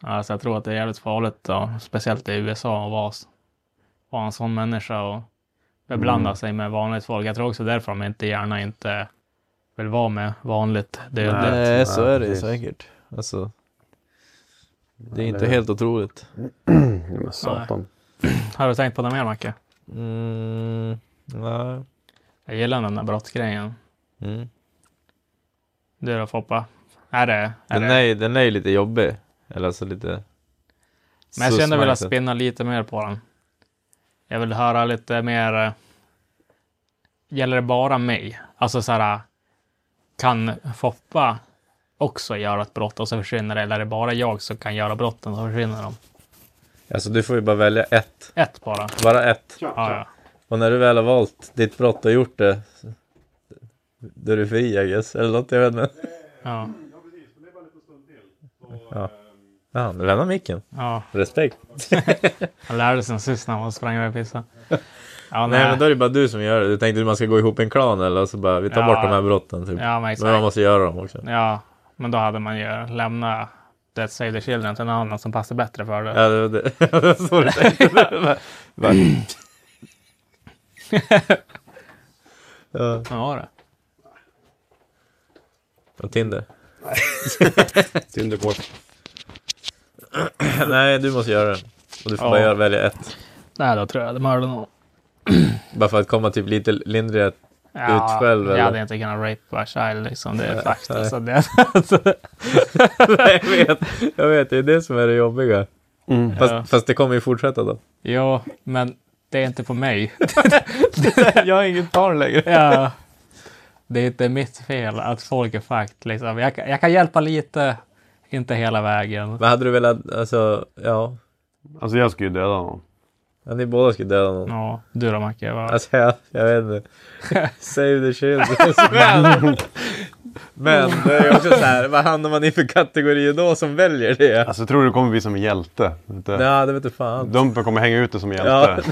alltså jag tror att det är jävligt farligt och speciellt i USA att vara, s- vara en sån människa och beblanda Mm. sig med vanligt folk. Jag tror också därför de inte gärna inte vill vara med vanligt dödligt. Nej, så Ja, är det ju precis. säkert. Alltså. Det är inte Eller- helt otroligt. Ja, men satan. Har du tänkt på det mer Macke? Mm, nej. Jag gillar den där brottsgrejen. Mm. Du då Foppa? Är det? Är Den, det? är, ju- den är ju lite jobbig. Eller alltså lite... Men jag kände sus-mindset. väl att spinna lite mer på den. Jag vill höra lite mer. eh, Gäller det bara mig? Alltså så här. Kan Foppa också göra ett brott och så försvinner det? Eller är det bara jag som kan göra brotten och så försvinner de? Alltså du får ju bara välja ett. Ett bara. Bara ett. Ja, ja. Och när du väl har valt ditt brott och gjort det. så- Då är du fri I guess. Eller något, jag vet inte. ja. Ja, nu lämnar micken. ja. Respekt. Han lärde sig sist när han sprang iväg och pissade. Ja, Nej men då är det bara du som gör det. Du tänkte att man ska gå ihop i en klan eller så bara vi tar Ja. bort de här brotten typ. Ja, men men man exakt. måste göra dem också. Ja, men då hade man ju lämnat Death Save the Children till en annan som passar bättre för det. Ja, det, det, det var så du tänkte. Bara- ja. Vad var det? Och Tinder. Tinderkort. Nej, du måste göra det. Och du får Ja. bara göra, välja ett. Nej, då tror jag det mördade någon. Bara för att komma typ lite lindrigare. ut själv, Jag eller? hade inte kunnat rape a child liksom. Det är Nej, fakta. nej. Så det, jag vet, jag vet, det är det som är det jobbiga. Mm. Fast, Ja. fast det kommer ju fortsätta då. ja, men det är inte på mig. jag har inget barn längre. ja. Det är inte mitt fel att folk är fucked. Liksom. Jag, kan- jag kan hjälpa lite, inte hela vägen. Men hade du velat, alltså, ja. Alltså jag skulle ju döda honom. Ja, Ni båda skulle döda någon. Ja, du då Macke? vad- Alltså, jag, jag vet inte. Save the children. men, men det är ju också så här, vad hamnar man i för kategorier då som väljer det? Alltså jag tror du kommer bli som en hjälte. Vet du? Nej, det vete fan. Dumpen kommer hänga ut dig som en hjälte.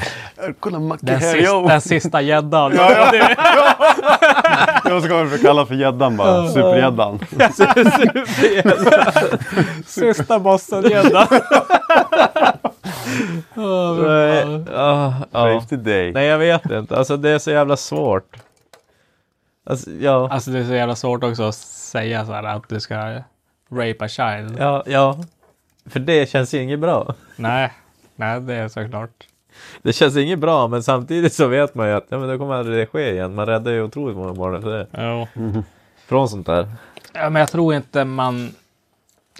Kolla Macke den, här, sista, yo! den sista gäddan. Jag ska kommer kalla för gäddan bara. Supergäddan. sista bossen-gäddan. oh, Nej, vad fan. ja, ja. Safety day. Nej, jag vet inte. Alltså det är så jävla svårt. Alltså, ja. alltså det är så jävla svårt också att säga så här att du ska rape a child. Ja, ja. För det känns ju inget bra. Nej, nej det är såklart. Det känns inget bra, men samtidigt så vet man ju att ja, men då kommer aldrig det ske igen. Man räddar ju otroligt många barn efter det. Ja. Från sånt där. Ja, men jag tror inte man...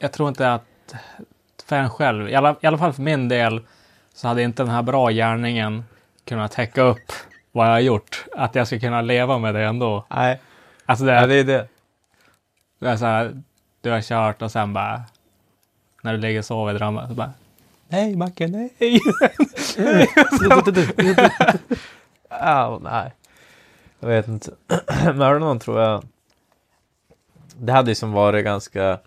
Jag tror inte att för en själv, i alla, i alla fall för min del, så hade inte den här bra gärningen kunnat täcka upp vad jag har gjort. Att jag ska kunna leva med det ändå. Nej, Alltså det, ja, det är det. det är så här, du har kört och sen bara, när du ligger och sover i drömmen, så bara, Nej, Macke, nej! Nej. Ja, nej. Jag vet inte. Mördanon tror jag... Det hade ju som varit ganska...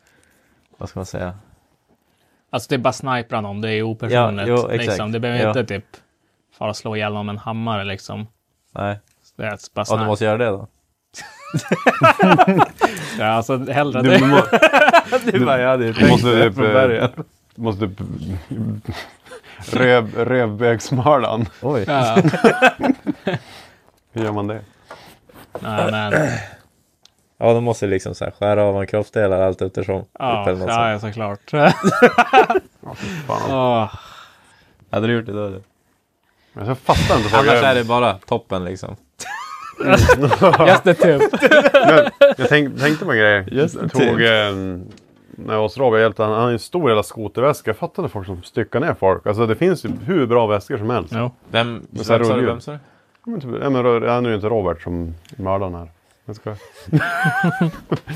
Vad ska man säga? alltså det är bara snipra någon, det är opersonligt. Ja, jo, exakt. liksom. Det behöver Ja. inte typ fara och slå ihjäl någon med en hammare liksom. Nej. Det är bara Ja, du snipe. måste göra det då. ja, alltså hellre Du, det. må, Du bara, jag hade ju du måste typ... från eh, början. Du måste typ... Röv, rövbögsmördan. Oj. Ja. Hur gör man det? Nej, men, Ja, de måste liksom så här skära av en kroppsdelar allt eftersom. ja, Typ eller något sånt. ja, såklart. Fan. Åh. Hade du gjort det då? eller? Men Jag fattar inte. varför Annars är jag, det bara toppen liksom. Just det, typ. jag tänk, tänkte på en grej. Just jag det. typ. tog... Eh, när jag och Robert hjälpte han, han har ju en stor jävla skoterväska. Jag fattar inte folk som styckar ner folk. Alltså det finns ju hur bra väskor som helst. Jo. Vem Men så sa här du? rullar Vem ju. sa du? Men typ, nej, men, Ro- ja, nu är det inte Robert som är mördaren här. Jag skojar.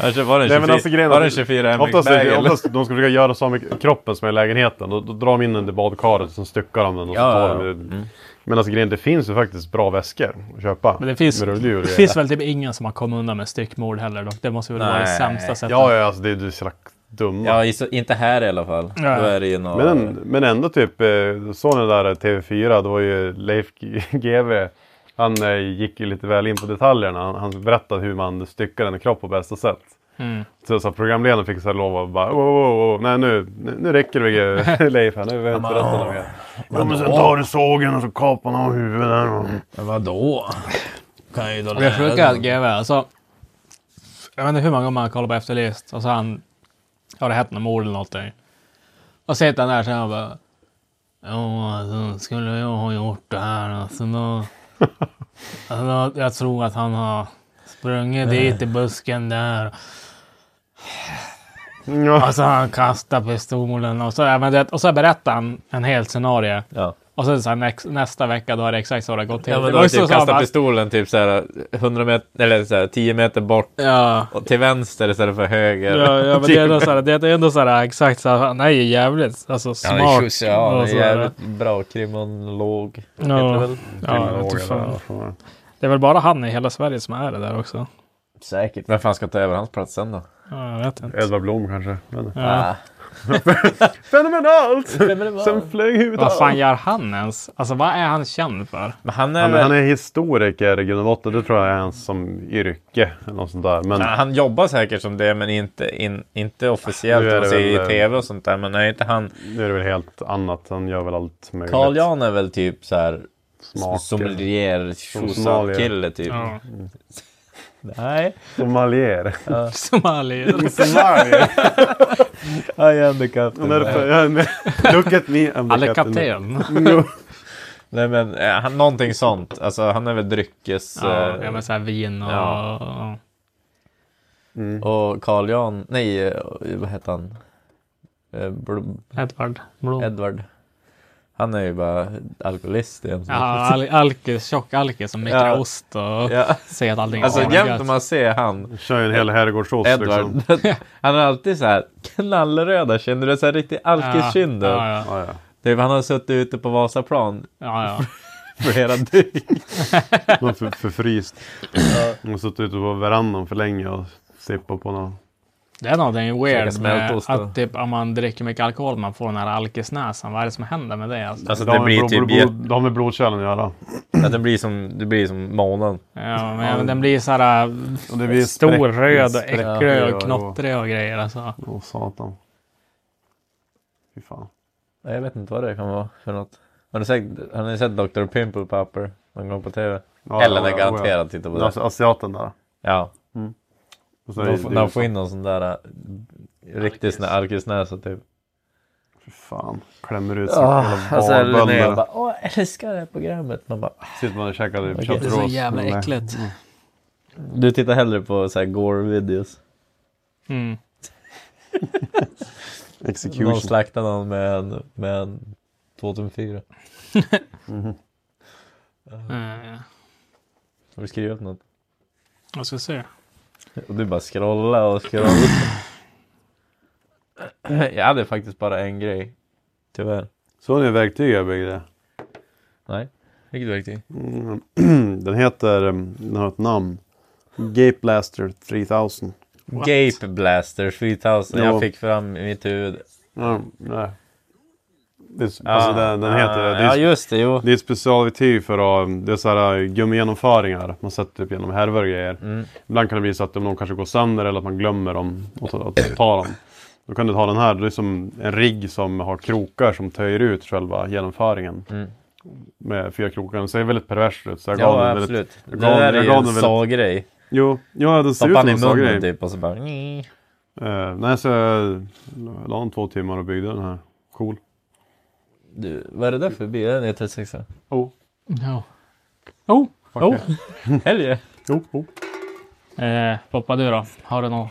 Kanske var det en Nej, men 24 alltså, grejen är var det en att- 24 Oftast, är, bagel? oftast de ska försöka göra så med kroppen som är i lägenheten. Då, då drar de in den i badkaret och sen styckar de den och så Ja, tar ja, de ja. den. Men alltså grejen det finns ju faktiskt bra väskor att köpa. Men det finns, med rulldjur och det grejer. finns väl typ ingen som har kommit undan med styckmord heller dock. Det måste väl vara det Nej. sämsta sättet. Ja, ja, alltså det, det är så jävla dumma. Ja, i- inte här i alla fall. Ja. Då är det ju någon... Men, men ändå typ, eh, såg ni där TV4, det var ju Leif G- GW. Han eh, gick ju lite väl in på detaljerna. Han, han berättade hur man styckar en kropp på bästa sätt. Så, så programledaren fick så här lov att bara oh, oh, oh, nej nu, nu, nu räcker det med Leif här, nu behöver jag inte berätta något mer. Ja, men sen tar du sågen och så kapar han av huvudet. och- Men vadå? Kan jag ju då Och jag lära försöker att mig. GW, alltså. Jag vet inte hur många gånger man kollar på Efterlyst och så han, har det hänt något mord eller någonting? Och så sitter han där så här och bara. Ja, alltså, skulle jag ha gjort det här alltså då, alltså då- Jag tror att han har sprungit dit i busken där. Ja. Och så har han kastat pistolen och så, ja, men det, och så berättar han en hel scenario. Ja. Och sen så här, näx, nästa vecka då är det exakt så det har gått till. Ja, Det men var då ju så typ som han kasta bara- pistolen typ så här 100 meter, eller så här 10 meter bort Ja. och till vänster istället för höger. Ja, ja, men det är ändå såhär, det är ändå såhär exakt såhär, han är ju jävligt alltså, Ja, smart. det är tjus, ja, och det är sådär. jävligt bra kriminolog. Ja. Heter det väl? Ja, jag vet inte fan. Det är väl bara han i hela Sverige som är det där också. Säkert. Vem fan ska ta över hans plats sen då? Ja, jag vet inte. Edvard Blom kanske. Men- Ja. Ah. Fenomenalt! Fenomenalt! Sen flög huvudet Vad av. fan gör han ens? Alltså vad är han känd för? Men han är Ja, väl... men han är historiker i grund och botten. Det tror jag är hans som yrke. Eller något sånt där. Men Ja, Han jobbar säkert som det, men inte, in, inte Nu officiellt. är det Man ser väl, i eh, tv och sånt där. Men är inte han... nu är det väl helt annat. Han gör väl allt möjligt. Carl Jan är väl typ så här... Smaker. Sommelier, Sommelier. kille typ. Ja. Nej. Sommelier. Somalier. Sommelier. I am the captain. Look at me. I'm the Eller captain. kapten. Jo. Nej men eh, han, någonting sånt. Alltså han är väl dryckes... Ja, eh, ja, men såhär vin och... Ja. och- Mm. Och Carl Jan, nej eh, vad heter han? Eh, Bl- Edvard Blom. Edward. Han är ju bara alkoholist egentligen. Ja, al- alkis, tjock alkis som mikrar Ja. ost och Ja. säger att allting är Alltså asgött. jämt om man ser han, Kör ju en hel herrgårdsost. Edward, Liksom. han har alltid så här knallröda kinder, det är så här riktigt alkiskinder. Ja, ja, ja. Ja, ja. Typ, han har suttit ute på Vasaplan ja, ja. flera dygn. Någon för, förfryst. Han har suttit ute på verandan för länge och sippat på någon. Det är någonting weird Käka med smältost då. att typ, om man dricker mycket alkohol man får den här alkisnäsan. Vad är det som händer med det? Alltså? Alltså Det har det med blir blod- typ blod- jätte- Det har med blodkärlen att göra. att det blir som, det blir som månen. Ja, men den blir så här äh, Och det blir stor, spräck- röd och spräck- äcklig ja, och knottrig och grejer. Alltså. Åh satan. Fy fan. Nej, Jag vet inte vad det kan vara för något. Har ni sett, har ni sett Dr. Pimple Popper någon gång på TV? Ja, Eller ja, när ja, garanterat tittar på ja. det. Alltså, asiaten där. Ja, Och så är de, det- får- de får in någon sån där eh, riktig sån där alkisnäsa typ. Fy fan. Klämmer ut som Ja, jävla alltså Linnea barbönder. bara åh jag älskar det här programmet. Man bara, Sitter man och käkar okay. Det är köttros. så jävla Nej. äckligt. du tittar hellre på så här gore-videos. Mm. Execution. Någon slaktar någon med en, med en 2004. Eh, Har du skrivit något? jag ska se. Och du bara scrolla och scrolla. jag hade faktiskt bara en grej. Tyvärr. Såg ni verktyg jag byggde? Nej. Vilket verktyg? Mm, den heter, um, den har ett namn. Gape Blaster 3000. Gape Blaster 3000. Jo. Jag fick fram i mitt huvud. Ja, nej. Det är, alltså den, den heter det. Det Ah, Ja, är, just det. Jo. det är ett specialverktyg för att, det är så här uh, gummigenomföringar. Man sätter typ genom härvor och grejer. Mm. Ibland kan det bli så att om de kanske går sönder eller att man glömmer dem och ta, att ta dem. Då kan du ta den här, det är som en rigg som har krokar som töjer ut själva genomföringen. Med fyra krokar. Den ser väldigt pervers ut. Så jag gav Mm. Ja, den väldigt, jag absolut. det gav- där jag är ju gav en den väldigt- sa-grej. Jo, ja den ser ut Stoppade som han i en sån grej. munnen typ och så bara... "Nyi." Eh, nej, så jag la en två timmar och byggde den här. Cool. Du, vad är det där för bil? Är det en E36? Oh. Ja. Oh, Okay. Helge! Oh. Oh. eh, Poppa du då? Har du någon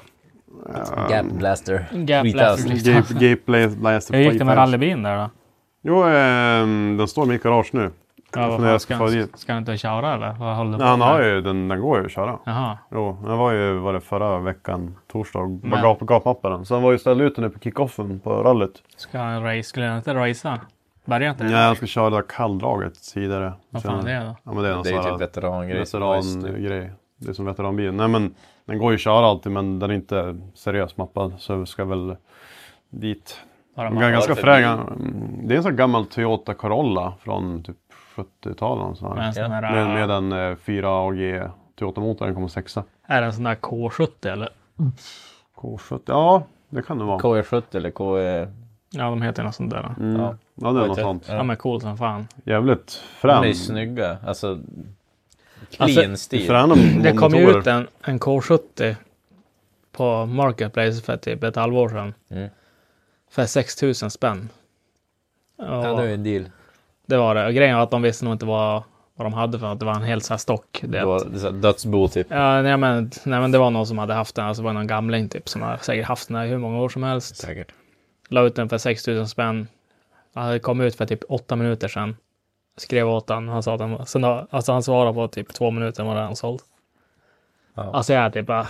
Gap Blaster. gap blaster? 3000. liksom? Gape, gape Blaze- Blaster Hur gick det 3000. med rallybilen där då? Jo, ehm, den står i mitt garage nu. Ja, vad när fan, jag ska ska, få han- dit. ska han inte köra eller? Vad håller du Nej, han med? har ju, den, den går ju att köra. Jaha. Jo, den var ju var det förra veckan, torsdag, och Men- gap, gapmappade den. Så han var ju ställd ut den nu på kickoffen på rallyt. Ska han race? Skulle han inte racea? Börjar inte det? Nej, han ska köra det där kalldraget tidigare. Vad fan är det då? Ja, men det är någon Det är sån ju här typ veterangrej. veterangrej. Det är som veteranbil. Nej, men den går ju att köra alltid, men den är inte seriöst mappad. Så vi ska väl dit. Bara Den man- är ganska varför fräg. typ- Mm, Det är en sån gammal Toyota Corolla från typ 70-talet. och sån Med en här. sån där, Med, med en eh, 4AG Toyota-motor, den kommer sexa. Är det en sån där K70 eller? K70, ja det kan det vara. KE70 E eller E- KE... Ja, de heter något sånt där. Mm. Ja. Ja. det är Vet något jag. sånt. E Ja. De är cool som fan. Jävligt De är frän. ju snygga. Alltså... Alltså, Clean stil. Fräna Det kom ju motorer. ut en, en K70 på Marketplace för typ ett halvår sedan. Mm. För 6 000 spänn. Ja, Och det är ju en deal. det var det. Och grejen var att de visste nog inte vad, vad de hade för något. Det var en hel så här stock. Det Det att- var det är så här dödsbo typ. Ja, nej, men, nej men det var någon som hade haft den, alltså det var någon gamling typ som har säkert haft den här hur många år som helst. Säkert. La ut den för 6 000 spänn. Han hade kommit ut för typ åtta minuter sedan. Skrev åt han, han sa att han, sen, har- alltså han svarade på typ två minuter var den såld. Ja. Alltså jag är typ bara,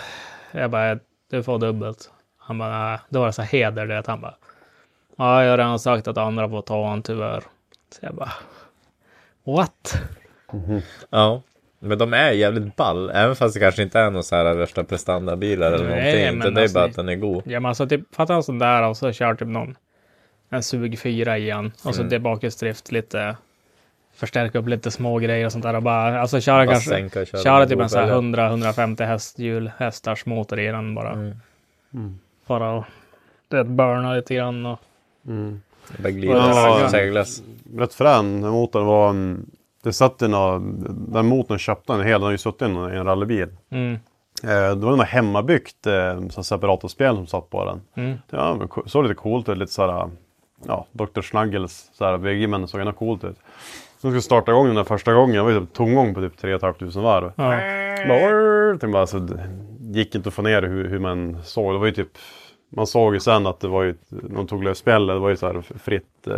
jag bara, du får dubbelt. Han bara, nej. Då var det så här heder, det han bara. Ja, jag har redan sagt att andra får ta han tyvärr. Så jag bara, what? Ja. Men de är jävligt ball, även fast det kanske inte är någon så här värsta prestandabilar eller Nej, men någonting. Utan det är alltså bara det- att den är god. Ja men alltså typ, fatta en sån där och så kör typ någon en sug 4 igen och så mm. bakisdrift lite förstärka upp lite små grejer och sånt där och bara alltså köra Bara kanske sänka och köra. köra typ en sån här Bokfälgar. 100-150 hästhjul hästars motor i den bara. Mm. Bara och du vet, burna lite grann och Bara glida. Ja. Seglas. Rätt frän. Den motorn var... mm, Det satt i någon, den motorn köpte en hel, den har ju suttit i en i en rallybil. mm. Eh, det var något hemmabyggt eh, så här separatorspel som satt på den. Mm. Ja, men co- såg lite coolt ut. Lite såhär, ja, Dr. Snuggles så här, VG, men det såg ändå coolt ut. Så skulle starta igång den där första gången. Det var ju typ tomgång på typ 3 500 varv. Ja. Bara, "Orr", tänkte bara, alltså, det gick inte att få ner hur, hur man såg. Det var ju typ, man såg ju sen att det var ju, ett- de tog lös spjällen, det var ju så här fritt. Eh,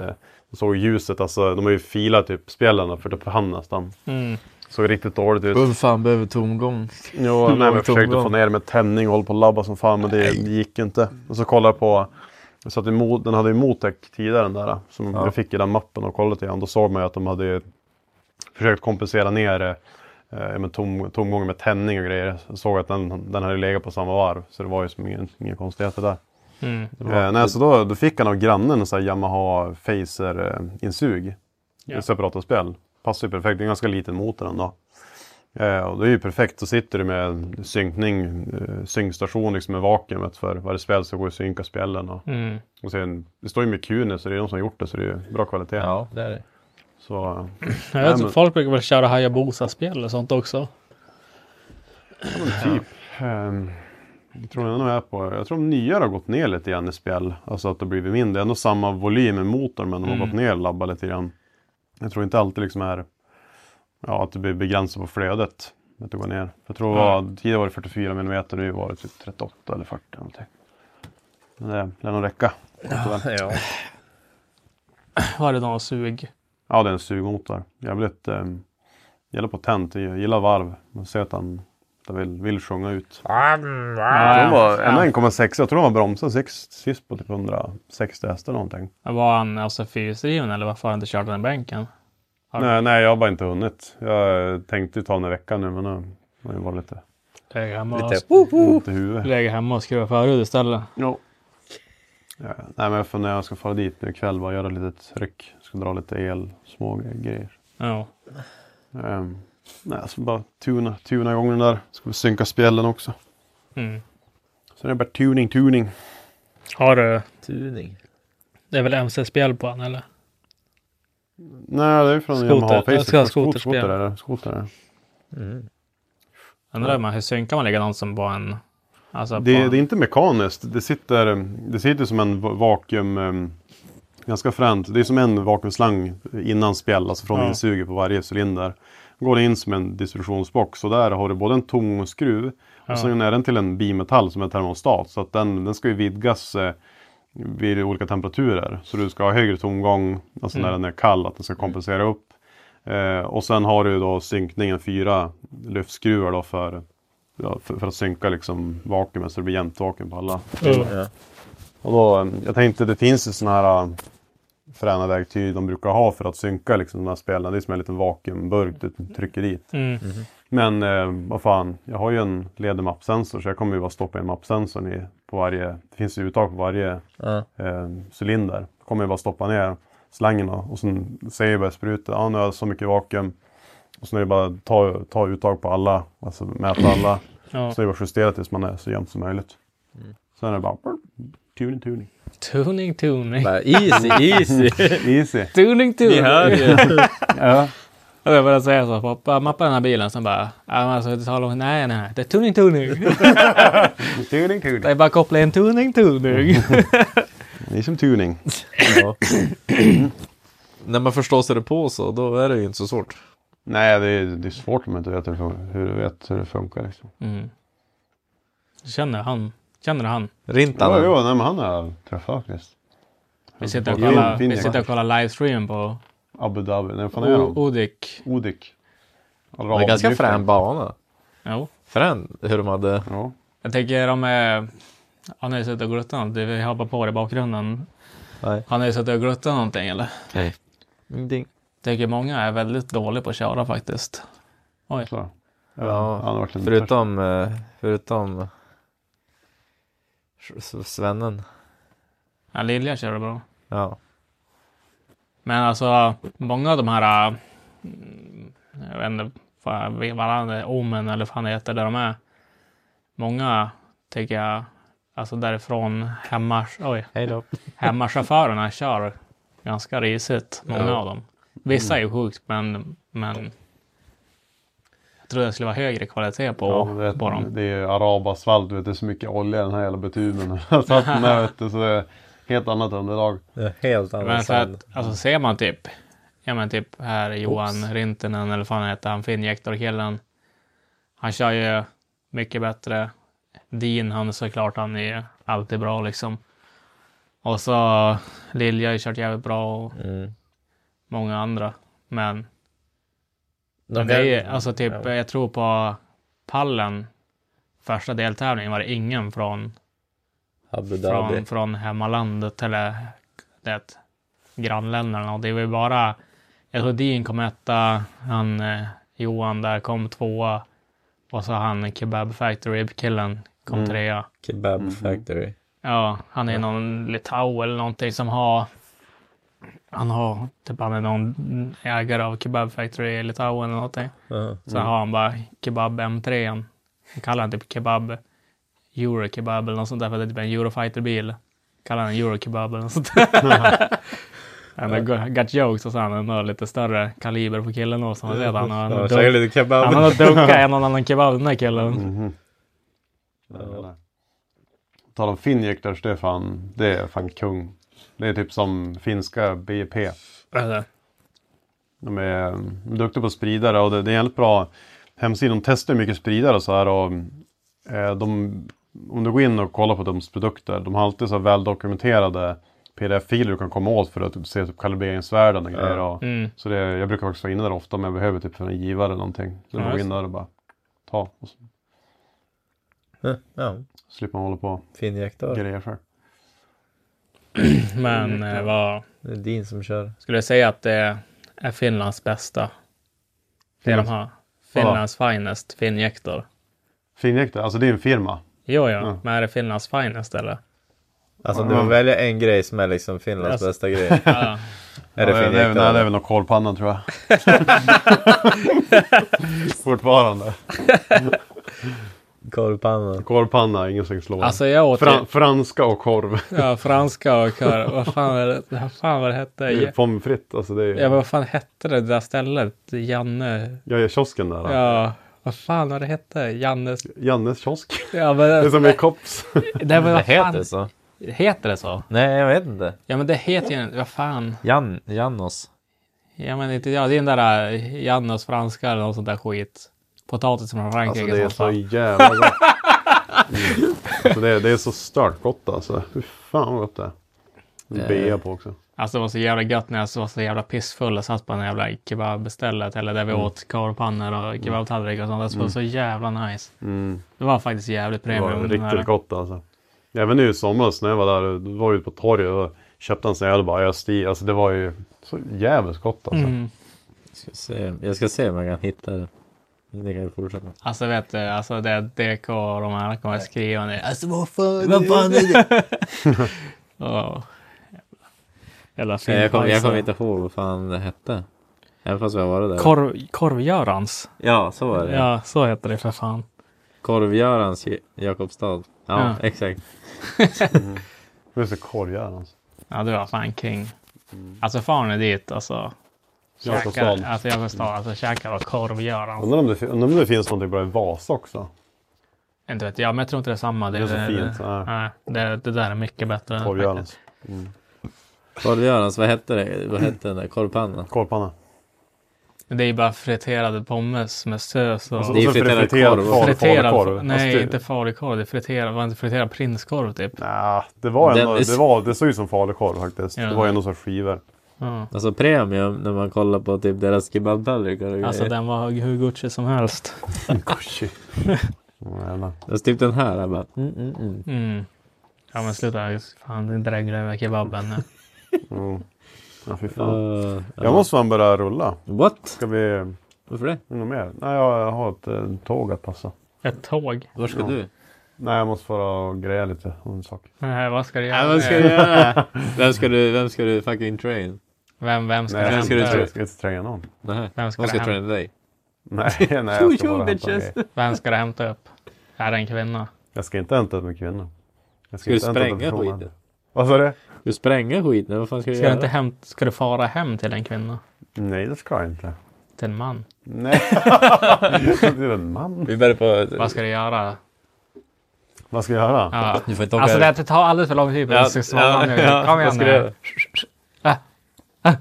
man såg ljuset, alltså, de har ju filat typ spjällen för typ hand nästan. Mm. Såg riktigt dåligt ut. fan behöver tomgång? Jo, nej, men jag försökte tomgång. få ner det med tändning och håll på och labba som fan men det, det gick inte. Och så kollade jag på, jag satt emot, den hade ju Motec tidigare den där. Som jag fick i den mappen och kollade lite grann. Då såg man ju att de hade ju försökt kompensera ner eh, ja, men tom, tomgången med tändning och grejer. Jag såg att den, den hade legat på samma varv. Så det var ju som ingen, inga konstigheter där. Mm. Eh, nej, så då, då fick han av grannen en sån här Yamaha eh, Facer-insug. Ja. i Separata spel. Passar ju perfekt, det är en ganska liten motor ändå. Eh, och det är ju perfekt, så sitter du med en synkning, eh, synkstation liksom med vakuumet för varje spel så går det att synka spelen. Och, Mm. och sen, det står ju med QN så det är någon som har gjort det så det är ju bra kvalitet. Ja, det är det. Så, eh, Jag vet, Nej, inte, men- Folk brukar väl köra Hayabusa-spel och sånt också. typ. ehm, jag tror jag nog är på, jag tror de nyare har gått ner lite grann i spel. Alltså att det har blivit mindre. Det är ändå samma volym i motorn men de har Mm. gått ner och labbat lite grann. Jag tror inte alltid liksom är, ja att det blir begränsat på flödet. Att det går ner. Jag tror det var, tidigare var det 44 mm, nu var det typ 38 eller 40 någonting. Men det lär nog räcka. Ja. Var det någon sug? Ja, ehm, det är en sugmotor. Jävligt... Eh, gillar potent, jag gillar varv. Man ser att han de vill, vill sjunga ut. Ja, De var, ja. ändå 1,6. Jag tror de har bromsat sist, sist på typ 160 hästar någonting. Var han alltså fyrhjulsdriven eller varför har han inte kört den i bänken? Har- Nej, nej, jag har bara inte hunnit. Jag tänkte ju ta den i veckan nu men nu har jag varit lite Lägger hemma, Lite. och, ont i huvudet. lägger hemma och skruvar förhud istället. Ja. Nej men jag funderar, jag ska fara dit nu ikväll bara göra lite tryck. Ska dra lite el, små grejer. Ja. Ehm, nej, jag ska bara tuna, tuna igång den där. Ska vi synka spjällen också. Mm. Sen är det bara tuning, tuning. Har du? Tuning. Det är väl MC-spjäll på han eller? Nej, det är från Skoter. Yamaha Facebook. Jag ska ha Skot- skoterspjäll. Skoter är det. Skoter är det. Undrar man hur synkar man likadant som på en... Alltså på Det, en, det är inte mekaniskt. Det sitter, det sitter som en va- vakuum... ehm, Ganska fränt. Det är som en vakuumslang innan spjäll, alltså från Ja. insuget på varje cylinder. Går det in som en distributionsbox och där har du både en tomskruv och sen är den till en bimetall som är termostat. Så att den, den ska ju vidgas eh, vid olika temperaturer. Så du ska ha högre tomgång, alltså Mm. när den är kall, att den ska kompensera upp. Eh, och sen har du då synkningen, fyra lyftskruvar då för, ja, för, för att synka liksom vakuumet så det blir jämnt vakuum på alla. Mm. Ja. Och då, eh, jag tänkte, det finns ju sådana här eh, fräna verktyg de brukar ha för att synka liksom, de här spelen. Det är som en liten vakuumburk du trycker dit. Mm. Men eh, vad fan, jag har ju en ledig mappsensor så jag kommer ju bara stoppa in mappsensorn i, på varje, det finns ju uttag på varje Ja. eh, cylinder. Då kommer jag bara stoppa ner slangen och, och sen säger jag bara spruta, ja nu har jag så mycket vakuum. Och sen är det bara att ta, ta uttag på alla, alltså mäta alla. Ja. Så är det bara att justera tills man är så jämnt som möjligt. Sen är det bara brr, tuning, tuning. Tuning, tuning. Bara, easy, easy. Easy. Tuning, tuning. Ni hör ju. ja. Och jag bara säger så. Pappa, mappa den här bilen. Sen bara. Ja, men alltså, det talar om, nej, nej, nej. Det är tuning, tuning. Tuning, tuning. det är bara att koppla in tuning, tuning. Det är som tuning. Ja. När man förstår sig det på så, då är det ju inte så svårt. Nej, det är, det är svårt om man inte vet hur det funkar. Hur, du vet hur det funkar liksom. Mm. Känner han? Känner du han? Rintan. Ja, jo, nej, men han har jag träffat faktiskt. Vi sitter och Ja, kollar, fin vi jäkel. sitter och kollar livestreamen på Abu Dhabi. Nej, vad fan är O- de? Odik. Odik. Det är ganska Arabdriften. frän bana. Jo. Frän hur de hade... Ja. Jag tänker de är... Han har ju suttit och gluttat något. Vi hoppar på det i bakgrunden. Nej. Han har ju suttit och gluttat någonting eller? Nej. Ding. Jag tänker många är väldigt dåliga på att köra faktiskt. Oj. Så. Ja, han har varit en törst. Förutom... eh, Förutom... S- Svennen. Ja, Lilja kör bra. Ja. Men alltså, många av de här... äh, mm, Jag vet inte fan, varandra, Omen eller vad fan det heter, där de är. Många, tänker jag, alltså därifrån hemma... Oj. Hej då. Hemmachaufförerna kör ganska risigt, många Ja. av dem. Vissa är ju sjukt, men, men jag trodde det skulle vara högre kvalitet på, Ja, men på det, dem. det är ju arabasfalt, du vet, det är så mycket olja i den här jävla betumen. så att den här, vet du, så det är helt annat underlag. Helt Men annan så sand. att, alltså ser man typ, ja men typ här Johan Rintinen eller vad fan han heter, han Finnjektor-killen. Han kör ju mycket bättre. Dean, han är såklart, han är ju alltid bra liksom. Och så Lilja har ju kört jävligt bra och Mm. många andra. Men De det är, ju- kan- alltså typ, ja. jag tror på pallen, första deltävlingen var det ingen från, Abu Dhabi. från, från hemmalandet eller det, grannländerna. Och det var ju bara, jag tror Dean kom etta, han eh, Johan där kom tvåa och så han Kebab Factory-killen kom trea. Kebab Factory. Mm. Ja, han är någon litau eller någonting som har... Han har typ han är någon ägare av Kebab Factory i Litauen eller någonting. Ja. Så har han bara Kebab M3. Han kallar den typ Kebab Euro Kebab eller något sånt där för det är typ en Eurofighter-bil. Kallar han Euro Kebab eller något sånt där. Han har go- got jokes och så har han har lite större kaliber på killen och så. Mm. Man ser att han har, Ja, han säger har, lite kebab. han har dunkat en och annan kebab den här killen. Mm-hmm. Ja. Tal om finjekters, det är fan, det är fan kung. Det är typ som finska BEP. Alltså, De är mm, duktiga på spridare och det, det är en jävligt bra hemsida. De testar ju mycket spridare och så här och eh, de, om du går in och kollar på deras produkter, de har alltid så här väldokumenterade pdf-filer du kan komma åt för att typ, se typ kalibreringsvärden och grejer. Och, mm. Så det, jag brukar faktiskt vara inne där ofta om jag behöver typ för en givare eller någonting. Så Ja, jag går just in där och bara ta. Och så. Ja, ja. Slipper man hålla på och Finjaktar. grejer själv. Men eh, vad Det är din som kör. skulle jag säga att det är Finlands bästa? Det de har. Finlands finest finjektor. Finjäktar, alltså det är en firma. Jo, ja. Men är det Finlands finest eller? Alltså om du får välja en grej som är liksom Finlands Alltså- bästa grej. Ja. Är det Ja, det, är, nej, det är väl finjaktar? någon kolpannan tror jag. Fortfarande. Korvpannan. Kolpanna, ingen som slår. Alltså jag åt Fran- ju franska och korv. ja, franska och kör. Vad fan, är det, vad fan vad det hette? Det är Ja, ju Pommes frites, alltså det är men vad fan hette det där stället? Janne? Jag är kiosken där. Ja, vad fan var det hette? Jannes... Jannes kiosk. Ja, men, Det är som i Kopps. det, var, Det vad fan, heter så. Heter det så? Nej, jag vet inte. Ja, men det heter ju... Vad fan? Jan, Janos. Ja, men inte jag. Det är den där eh, Jannes franska eller något sånt där skit. Potatis från Alltså Frankrike. det är som så fan. jävla gott. Mm. Alltså, det, är, det är så stört gott alltså. Fy fan vad gott det är. En bea på också. alltså det var så jävla gött när jag var så jävla pissfull och satt på den här jävla kebabbestället. Eller Mm. där vi åt korvpannor och kebabtallrikar och sånt. Det var så jävla nice. Mm. Det var faktiskt jävligt Det premium. var den här. riktigt gott alltså. Även nu i somras när jag var där, då var jag ute på torget och köpte en sån här öl och bara jag stig. Alltså det var ju så jävligt gott alltså. Mm. Ska se. Jag ska se om jag kan hitta det. Ni kan ju fortsätta. Alltså vet du, alltså det DK och de här kommer skriva nu. Alltså vad fan. Vad fan är det? Åh. Jävla fin Nej, jag kommer jag kommer inte ihåg vad fan det hette. Även fast vi har varit där. Korv, Korvgörans. ja, så var det. Ja, så heter det för fan. Korvgörans i Jakobstad. Ja, Ja. exakt. Mm. Det är så korvjärn alltså. Ja, du var fan king. Alltså far ni dit alltså. Jakobstad. Käkar, alltså jag förstår, alltså käkar och korvgörans. Undrar om, det, fi- undrar om det finns någonting bra i Vasa också. Inte vet jag, men jag tror inte det är samma. Det är så fint. Ja. Nej, det, det där är mycket bättre. Korvjärns. Korvgörans, vad hette det? Vad hette den där korvpannan? Korvpanna. Det är ju bara friterade pommes med sås och... Och Det är Alltså, så friterad friterad korv. far- friterad, falukorv. nej, Alltså, det- inte falukorv. Det är friterad, var det inte friterad prinskorv typ? Nej, det var Den ändå, är s- det, var, det såg ut som falukorv faktiskt. Ja. Det var ju ändå så här skivor. Ja. Alltså premium när man kollar på typ deras kebabtallrikar och Alltså grejer. den var hur Gucci som helst. Koshi. Ja, jävlar. Alltså typ den här. Jag bara, mm, mm, mm. Mm. Ja men sluta, fan dregla över kebaben nu. Mm. Ja, fy fan. Uh, Jag måste fan börja rulla. What? Ska vi... Varför det? Något mer? Nej, jag har ett eh, tåg att passa. Ett tåg. Var ska Ja. du? Nej, jag måste fara och greja lite om en sak. Nej, vad ska du göra? Nej, vad ska nu? du göra? Vem ska du, vem ska du fucking train? Vem, vem ska Nej, du jag ska, du inte- hämta? träffa? jag ska inte tränga någon. Nej. Vem ska Någon ska det traina dig. Nej, nej jag ska bara hämta en grej. Vem ska du hämta upp? Är det en kvinna? Jag ska inte hämta upp en kvinna. Jag Ska du inte hämta upp en spränga person. skiten? Vad sa du? Du spränga skiten, vad fan ska du Ska du, göra? inte hämta, ska du fara hem till en kvinna? Nej, det ska jag inte. Till en man? Nej. det är en man. Vi börjar på... Vad ska du göra? Vad ska jag göra? Ja. Du får inte åka Alltså det, här. här, det tar alldeles för lång tid. Ja, Ja, ja, nu. ja, Kom vad igen ska nu. du göra? Ah, ah,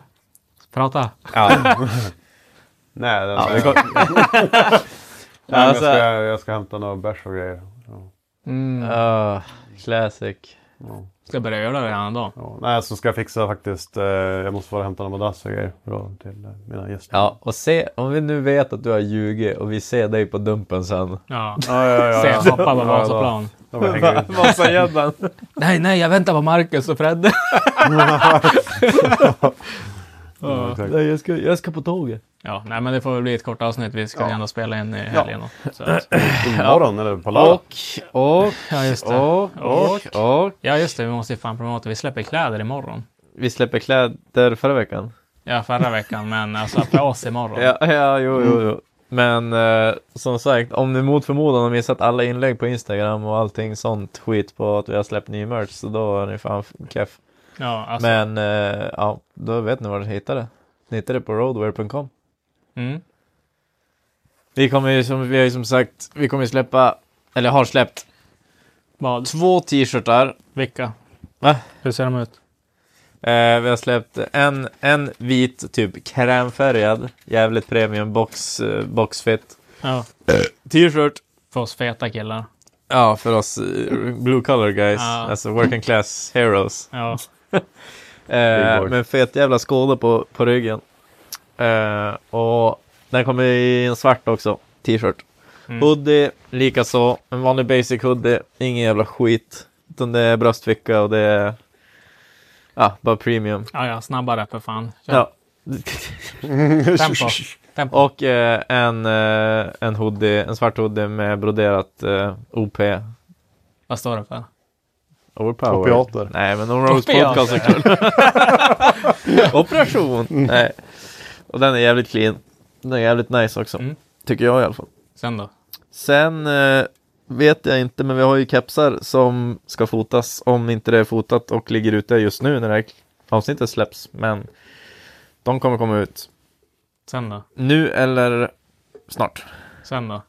Prata. Nej, den, jag, nej, men Alltså- jag, ska, jag ska hämta några bärs och grejer. Ja. Mm. Ah, classic. Ska jag börja göra det redan idag? Ja. Nej, så ska jag fixa faktiskt. Eh, jag måste bara hämta några madrass och grejer då, till eh, mina gäster. Ja, och se, om vi nu vet att du har ljugit och vi ser dig på dumpen sen. Ja. Ja, ja, ja, ja. Sen hoppa på Ja, Vasaplan. då- då hänger vi- Vasagäddan. Nej, nej, jag väntar på Marcus och Fredde. Ja, exakt. Nej, jag ska, jag ska på tåget. Ja, nej, men det får väl bli ett kort avsnitt. Vi ska ju ändå spela in i helgen. Ja. Så. att- Imorgon eller på lördag. Och, och, Ja, just det. och, och, och. Ja, just det. Vi måste ju fan promota. Vi släpper kläder imorgon. Vi släpper kläder förra veckan. Ja, förra veckan, men alltså för oss imorgon. Ja, ja jo, jo, jo. Men eh, som sagt, om ni mot förmodan har missat alla inlägg på Instagram och allting sånt skit på att vi har släppt ny merch, så då är ni fan f- keff. Ja, alltså. Men eh, ja, då vet ni var ni hittar det. Ni hittar det på roadwear.com. Mm. Vi kommer ju som, vi har ju som sagt, vi kommer ju släppa, eller har släppt, Vad? två t-shirtar. Vilka? Va? Hur ser de ut? Eh, vi har släppt en, en vit, typ krämfärgad, jävligt premium box, eh, boxfit Ja, t-shirt. för oss feta killar. Ja, för oss eh, blue collar guys, Ja. alltså working class heroes. Ja, Eh, boys. med fet jävla skåda på, på ryggen. Eh, och den kommer i en svart också, t-shirt. Hoodie, likaså. En vanlig basic hoodie, ingen jävla skit. Utan det är bröstficka och det är... Ja, bara premium. Ja, ja, snabbare för fan. Kör. Ja. Tempo. Tempo. Och eh, en, eh, en hoodie, en svart hoodie med broderat eh, OP. Vad står det för? Overpower. Opiater. Nej, men Oros Opiater. podcast är kul. Operation! Mm. Nej. Och den är jävligt clean. Den är jävligt nice också. Mm. Tycker jag i alla fall. Sen då? Sen eh, vet jag inte, men vi har ju kepsar som ska fotas om inte det är fotat och ligger ute just nu när det här avsnittet släpps. Men de kommer komma ut Sen då? nu eller snart. Sen då?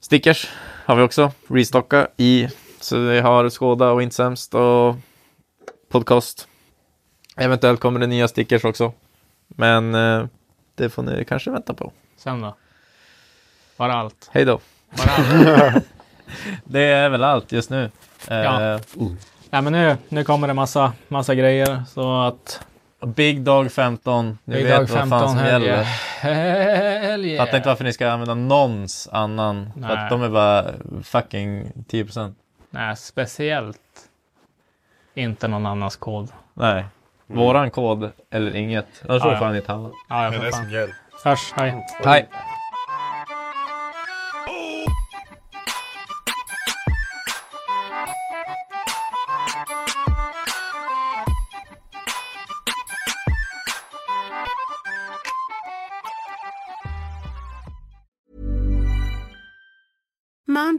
Stickers har vi också, restocka i. Så vi har Skåda och Inte Sämst och podcast. Eventuellt kommer det nya stickers också. Men eh, det får ni kanske vänta på. Sen då? Var det allt? Hej då! Var det allt? Det är väl allt just nu. Eh, Ja. Nej, men nu, nu kommer det massa, massa grejer. Så att... Big Dog 15, ni Big vet Dog vad fan som hell gäller. yeah. Hell Jag fattar inte yeah. varför ni ska använda någons annan. För Nej. att de är bara fucking 10%. Nej, speciellt inte någon annans kod. Nej. Våran kod eller inget. Annars Ja, får du ja. fan inte handla. Ja, jag får fan. Hörs, hej. Hej! Mom